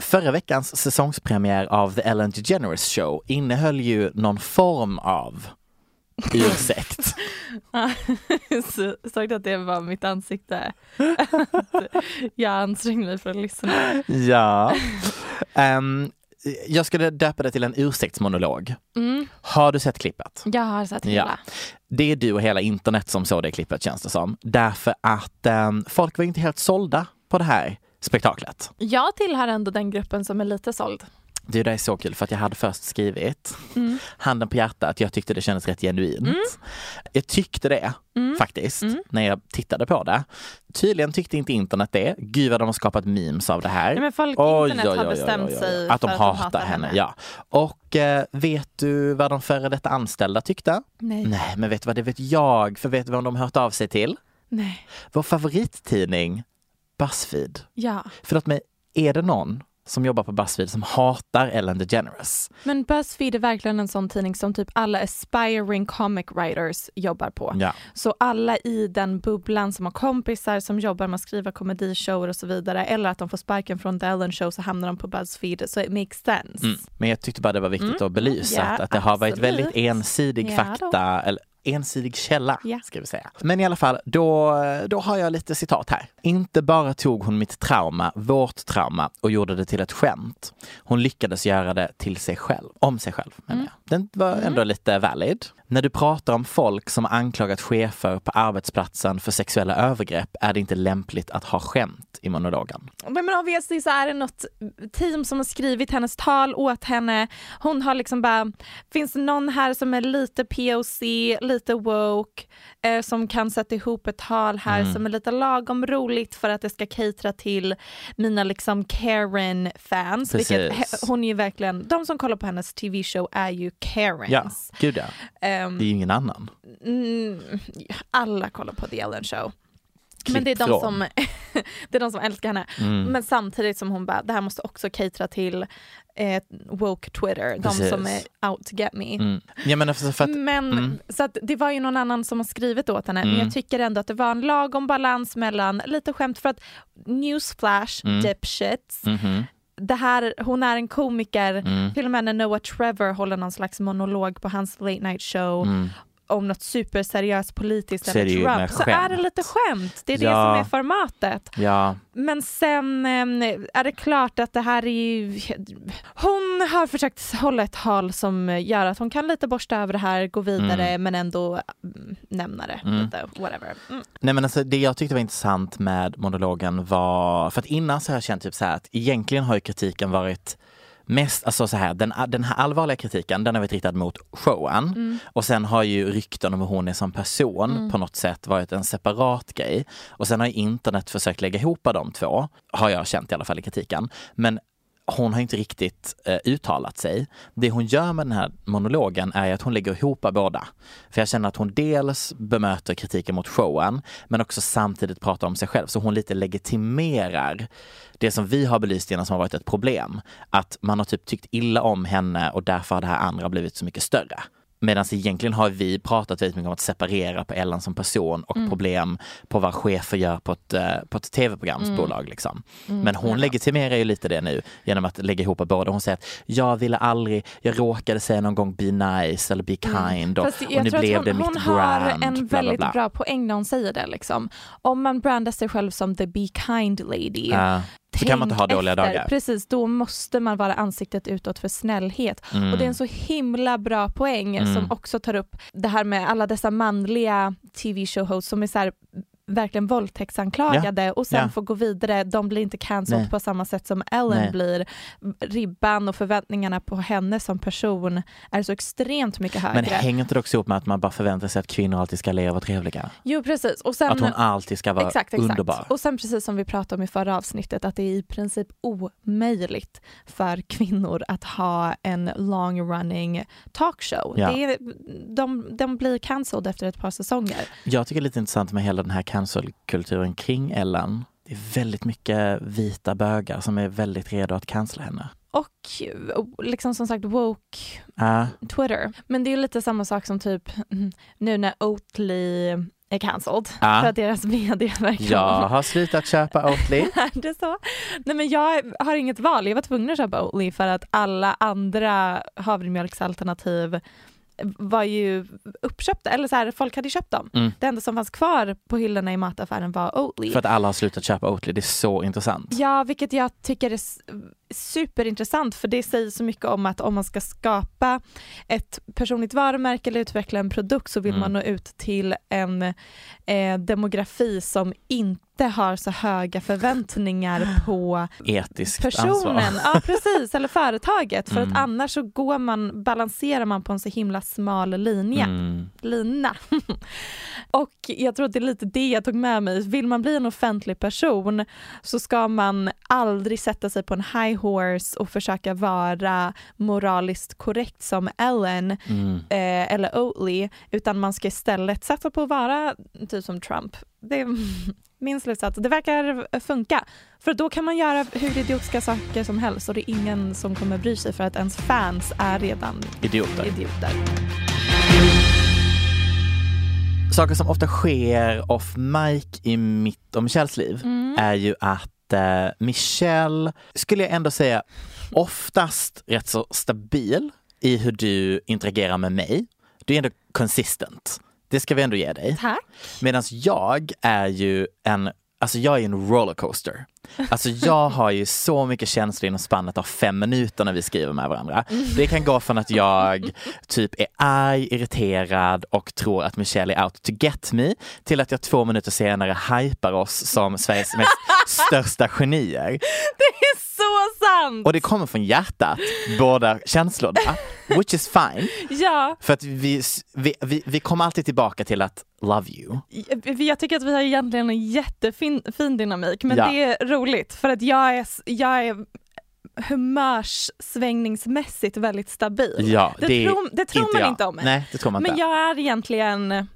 S1: Förra veckans säsongspremiär av The Ellen DeGeneres Show innehöll ju någon form av ursäkt.
S2: Ja, så- Såg du att det var mitt ansikte? jag ansträngde mig för att lyssna.
S1: ja. Ehm, jag skulle döpa det till en ursäktsmonolog.
S2: Mm.
S1: Har du sett klippet?
S2: Jag har sett
S1: Ja.
S2: hela.
S1: Det är du och hela internet som såg det klippet känns det som. Därför att ehm, folk var inte helt sålda på det här spektaklet.
S2: Jag tillhör ändå den gruppen som är lite såld.
S1: Du, det är så kul för att jag hade först skrivit
S2: Mm.
S1: handen på hjärtat, jag tyckte det kändes rätt genuint. Jag tyckte det
S2: Mm.
S1: faktiskt
S2: Mm.
S1: när jag tittade på det. Tydligen tyckte inte internet det. Gud vad de har skapat memes av det här.
S2: Nej, men folk- internet har bestämt sig
S1: Att de
S2: för att de
S1: hatar
S2: hatar
S1: henne.
S2: henne.
S1: Ja. Och eh, vet du vad de före detta anställda tyckte?
S2: Nej.
S1: Nej, men vet du vad, det vet jag. För vet du vem de hört av sig till?
S2: Nej.
S1: Vår favorittidning Buzzfeed.
S2: Ja.
S1: För att med, är det någon som jobbar på Buzzfeed som hatar Ellen DeGeneres?
S2: Men Buzzfeed är verkligen en sån tidning som typ alla aspiring comic writers jobbar på.
S1: Ja.
S2: Så alla i den bubblan som har kompisar som jobbar med att skriva komedishower och så vidare eller att de får sparken från The Ellen Show så hamnar de på Buzzfeed. Så it makes sense.
S1: Mm. Men jag tyckte bara det var viktigt
S2: Mm.
S1: att belysa
S2: Ja,
S1: att, att det har varit
S2: absolut.
S1: väldigt ensidig
S2: Ja
S1: fakta, eller ensidig källa
S2: Ja.
S1: ska vi säga. Men i alla fall, då, då har jag lite citat här. Inte bara tog hon mitt trauma, vårt trauma, och gjorde det till ett skämt. Hon lyckades göra det till sig själv, om sig själv. menar
S2: Mm.
S1: jag. Den var ändå lite valid. När du pratar om folk som anklagat chefer på arbetsplatsen för sexuella övergrepp är det inte lämpligt att ha skämt i monologen.
S2: Men, men obviously så är det något team som har skrivit hennes tal åt henne. Hon har liksom bara, finns det någon här som är lite POC, lite woke, eh, som kan sätta ihop ett tal här
S12: Mm.
S2: som är lite lagom roligt för att det ska catera till mina liksom Karen-fans. Vilket
S1: Precis.
S2: he- hon är ju verkligen, de som kollar på hennes TV-show är ju Karens.
S1: Ja, gud ja.
S2: Ehm,
S1: Det är ju ingen annan.
S2: Mm, alla kollar på The Ellen Show. Men
S1: Klipp
S2: det är, de
S1: från.
S2: som, det är de som älskar henne.
S1: Mm.
S2: Men samtidigt som hon bara, det här måste också catera till eh, woke Twitter, de
S1: Precis.
S2: som är out to get me.
S1: Mm. Jag menar för, för att,
S2: Men
S1: mm.
S2: så att det var ju någon annan som har skrivit åt henne, men
S1: Mm.
S2: jag tycker ändå att det var en lagom balans mellan lite skämt för att newsflash,
S1: Mm.
S2: dipshits,
S1: Mhm.
S2: det här, hon är en komiker,
S1: Mm.
S2: till och med när Noah Trevor håller någon slags monolog på hans late night show
S1: Mm.
S2: om något superseriöst politiskt
S1: Så är det ju
S2: eller Trump
S1: med
S2: så är det
S1: skämt.
S2: lite skämt. Det är det
S1: Ja.
S2: som är formatet.
S1: Ja,
S2: Men sen eh, är det klart att det här är ju... Hon har försökt hålla ett tal som gör att hon kan lite borsta över det här, gå vidare
S1: Mm.
S2: men ändå mm, nämna det
S1: Mm.
S2: lite, whatever. Mm.
S1: nej men alltså det jag tyckte var intressant med monologen var, för att innan så har jag känt typ så här att egentligen har ju kritiken varit mest, alltså så här, den, den här allvarliga kritiken den har varit riktad mot showen
S12: Mm.
S1: och sen har ju rykten om hur hon är som person
S12: Mm.
S1: på något sätt varit en separat grej och sen har ju internet försökt lägga ihop de två, har jag känt i alla fall i kritiken. Men hon har inte riktigt eh, uttalat sig. Det hon gör med den här monologen är att hon lägger ihop båda. För jag känner att hon dels bemöter kritiken mot showen men också samtidigt pratar om sig själv. Så hon lite legitimerar det som vi har belyst innan som har varit ett problem. Att man har typ tyckt illa om henne och därför har det här andra blivit så mycket större. Medan egentligen har vi pratat väldigt mycket om att separera på Ellen som person och
S12: Mm.
S1: problem på vad chefer gör på ett, eh, på ett tv-programsbolag. Liksom.
S12: Mm,
S1: Men hon
S12: ja.
S1: legitimerar ju lite det nu genom att lägga ihop båda. Hon säger att jag ville aldrig, jag råkade säga någon gång be nice eller be kind och,
S2: Mm. Fast jag
S1: och nu
S2: tror
S1: blev
S2: att
S1: det
S2: hon,
S1: mitt
S2: hon
S1: brand.
S2: har en
S1: bla, bla,
S2: väldigt
S1: bla.
S2: bra poäng när hon säger det. Liksom. Om man brandar sig själv som the be kind lady.
S1: Ja. Så kan man inte ha
S2: tänk
S1: dåliga
S2: efter.
S1: dagar.
S2: Precis, då måste man vara ansiktet utåt för snällhet.
S1: Mm.
S2: Och det är en så himla bra poäng
S1: Mm.
S2: som också tar upp det här med alla dessa manliga tv-showhosts som är så här verkligen våldtäktsanklagade och sen
S1: Ja.
S2: får gå vidare. De blir inte cancelled
S1: Nej.
S2: på samma sätt som Ellen
S1: Nej.
S2: blir. Ribban och förväntningarna på henne som person är så extremt mycket högre.
S1: Men hänger inte det också ihop med att man bara förväntar sig att kvinnor alltid ska le och vara trevliga?
S2: Jo precis. Och sen,
S1: att hon alltid ska vara
S2: exakt, exakt.
S1: underbar?
S2: Och sen precis som vi pratade om i förra avsnittet att det är i princip omöjligt för kvinnor att ha en long running talkshow.
S1: Ja.
S2: Det är, de, de blir cancelled efter ett par säsonger.
S1: Jag tycker det är lite intressant med hela den här cancelkulturen kring Ellen. Det är väldigt mycket vita bögar som är väldigt redo att cancella henne.
S2: Och och liksom som sagt woke
S1: Ja,
S2: Twitter. Men det är ju lite samma sak som typ mm, nu när Oatly är cancelled
S1: Ja.
S2: för att deras vd verkar
S1: ah. jag har slutat köpa Oatly.
S2: är det så? Nej men jag har inget val, jag var tvungen att köpa Oatly för att alla andra havremjölksalternativ var ju uppköpta, eller så här, folk hade ju köpt dem.
S1: Mm.
S2: Det enda som fanns kvar på hyllorna i mataffären var Oatly.
S1: För att alla har slutat köpa Oatly, det är så intressant.
S2: Ja, vilket jag tycker är s- superintressant för det säger så mycket om att om man ska skapa ett personligt varumärke eller utveckla en produkt så vill
S1: Mm.
S2: man nå ut till en eh, demografi som inte har så höga förväntningar på
S1: Etiskt ansvar.
S2: personen, ja precis, eller företaget för
S1: Mm.
S2: att annars så går man, balanserar man på en så himla smal linje.
S1: Mm.
S2: Lina. och jag tror att det är lite det jag tog med mig. Vill man bli en offentlig person så ska man aldrig sätta sig på en high horse och försöka vara moraliskt korrekt som Ellen
S1: Mm.
S2: eh, eller Oatly utan man ska istället satsa på att vara typ som Trump. Det är min slutsats. Det verkar funka. För då kan man göra hur idiotiska saker som helst och det är ingen som kommer bry sig för att ens fans är redan
S1: Idioter.
S2: idioter.
S1: Saker som ofta sker off mic i mitt och Michelles liv
S12: Mm.
S1: är ju att eh, Michelle, skulle jag ändå säga, oftast rätt så stabil i hur du interagerar med mig. Du är ändå consistent. Det ska vi ändå ge dig.
S2: Tack.
S1: Medan jag är ju en, alltså jag är en rollercoaster. Alltså jag har ju så mycket känslor inom spannet av fem minuter när vi skriver med varandra. Det kan gå från att jag typ är arg, irriterad och tror att Michelle är out to get me till att jag två minuter senare hypar oss som Sveriges mest största genier.
S2: Det är så sant!
S1: Och det kommer från hjärtat, båda känslorna. Which is fine.
S2: Ja,
S1: För att vi, vi, vi, vi kommer alltid tillbaka till att love you.
S2: jag jag tycker att vi har egentligen en jättefin fin dynamik men
S1: Ja.
S2: det är roligt för att jag är, jag är humörssvängningsmässigt väldigt stabil.
S1: Ja,
S2: det,
S1: det är
S2: tror, det tror
S1: inte
S2: man
S1: jag.
S2: inte om mig.
S1: Nej, det tror man
S2: men
S1: inte.
S2: jag är egentligen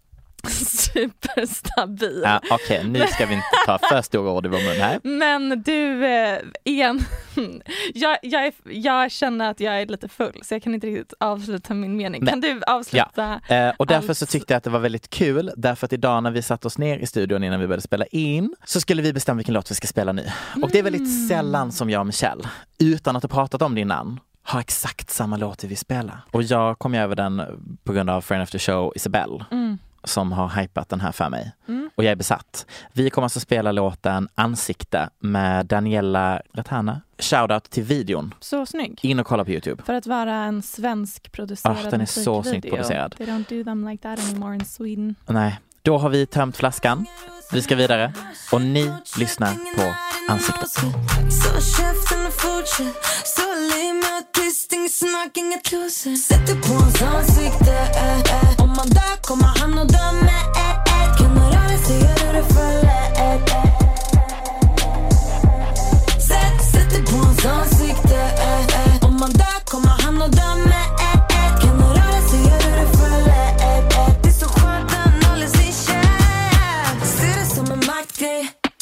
S2: superstabil.
S1: Ja, Okej, nu ska vi inte ta för stora ord i vår mun här.
S2: Men du, eh, igen, jag, jag, är, jag känner att jag är lite full så jag kan inte riktigt avsluta min mening.
S1: Nej.
S2: Kan du avsluta?
S1: Ja. Eh, och därför så tyckte jag att det var väldigt kul, därför att idag när vi satte oss ner i studion innan vi började spela in så skulle vi bestämma vilken låt vi ska spela nu. Och det är
S12: Mm.
S1: väldigt sällan som jag och Michelle, utan att ha pratat om det innan, har exakt samma låt vi vill spela. Och jag kom ju över den på grund av Friend After Show Isabelle
S12: Mm.
S1: som har hypat den här för mig.
S12: Mm.
S1: Och jag är besatt. Vi kommer alltså spela låten Ansikte med Daniela Ratana. Shoutout till videon.
S2: Så snygg.
S1: In och kolla på Youtube.
S2: För att vara en svensk producerad
S1: Ah, den är så snyggt
S2: musikvideo.
S1: producerad.
S2: They don't do them like that anymore in Sweden.
S1: Nej, Då har vi tömt flaskan. Vi ska vidare och ni lyssnar på ansiktet.
S12: Så käften och fortsätt Så le med att tysting snart inga trosor Sätt dig på hans ansikte eh, eh. Om man dör kommer han att dö med eh, eh. Kan du röra sig gör du det för lätt eh, eh. Sätt, sätt dig på hans ansikte eh, eh. Om man dör kommer han att dö med eh, eh. Kan du röra sig gör du det för lätt eh, eh. Det är så skönt han håller sig kär Ser det som en maktgrej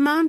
S13: Mom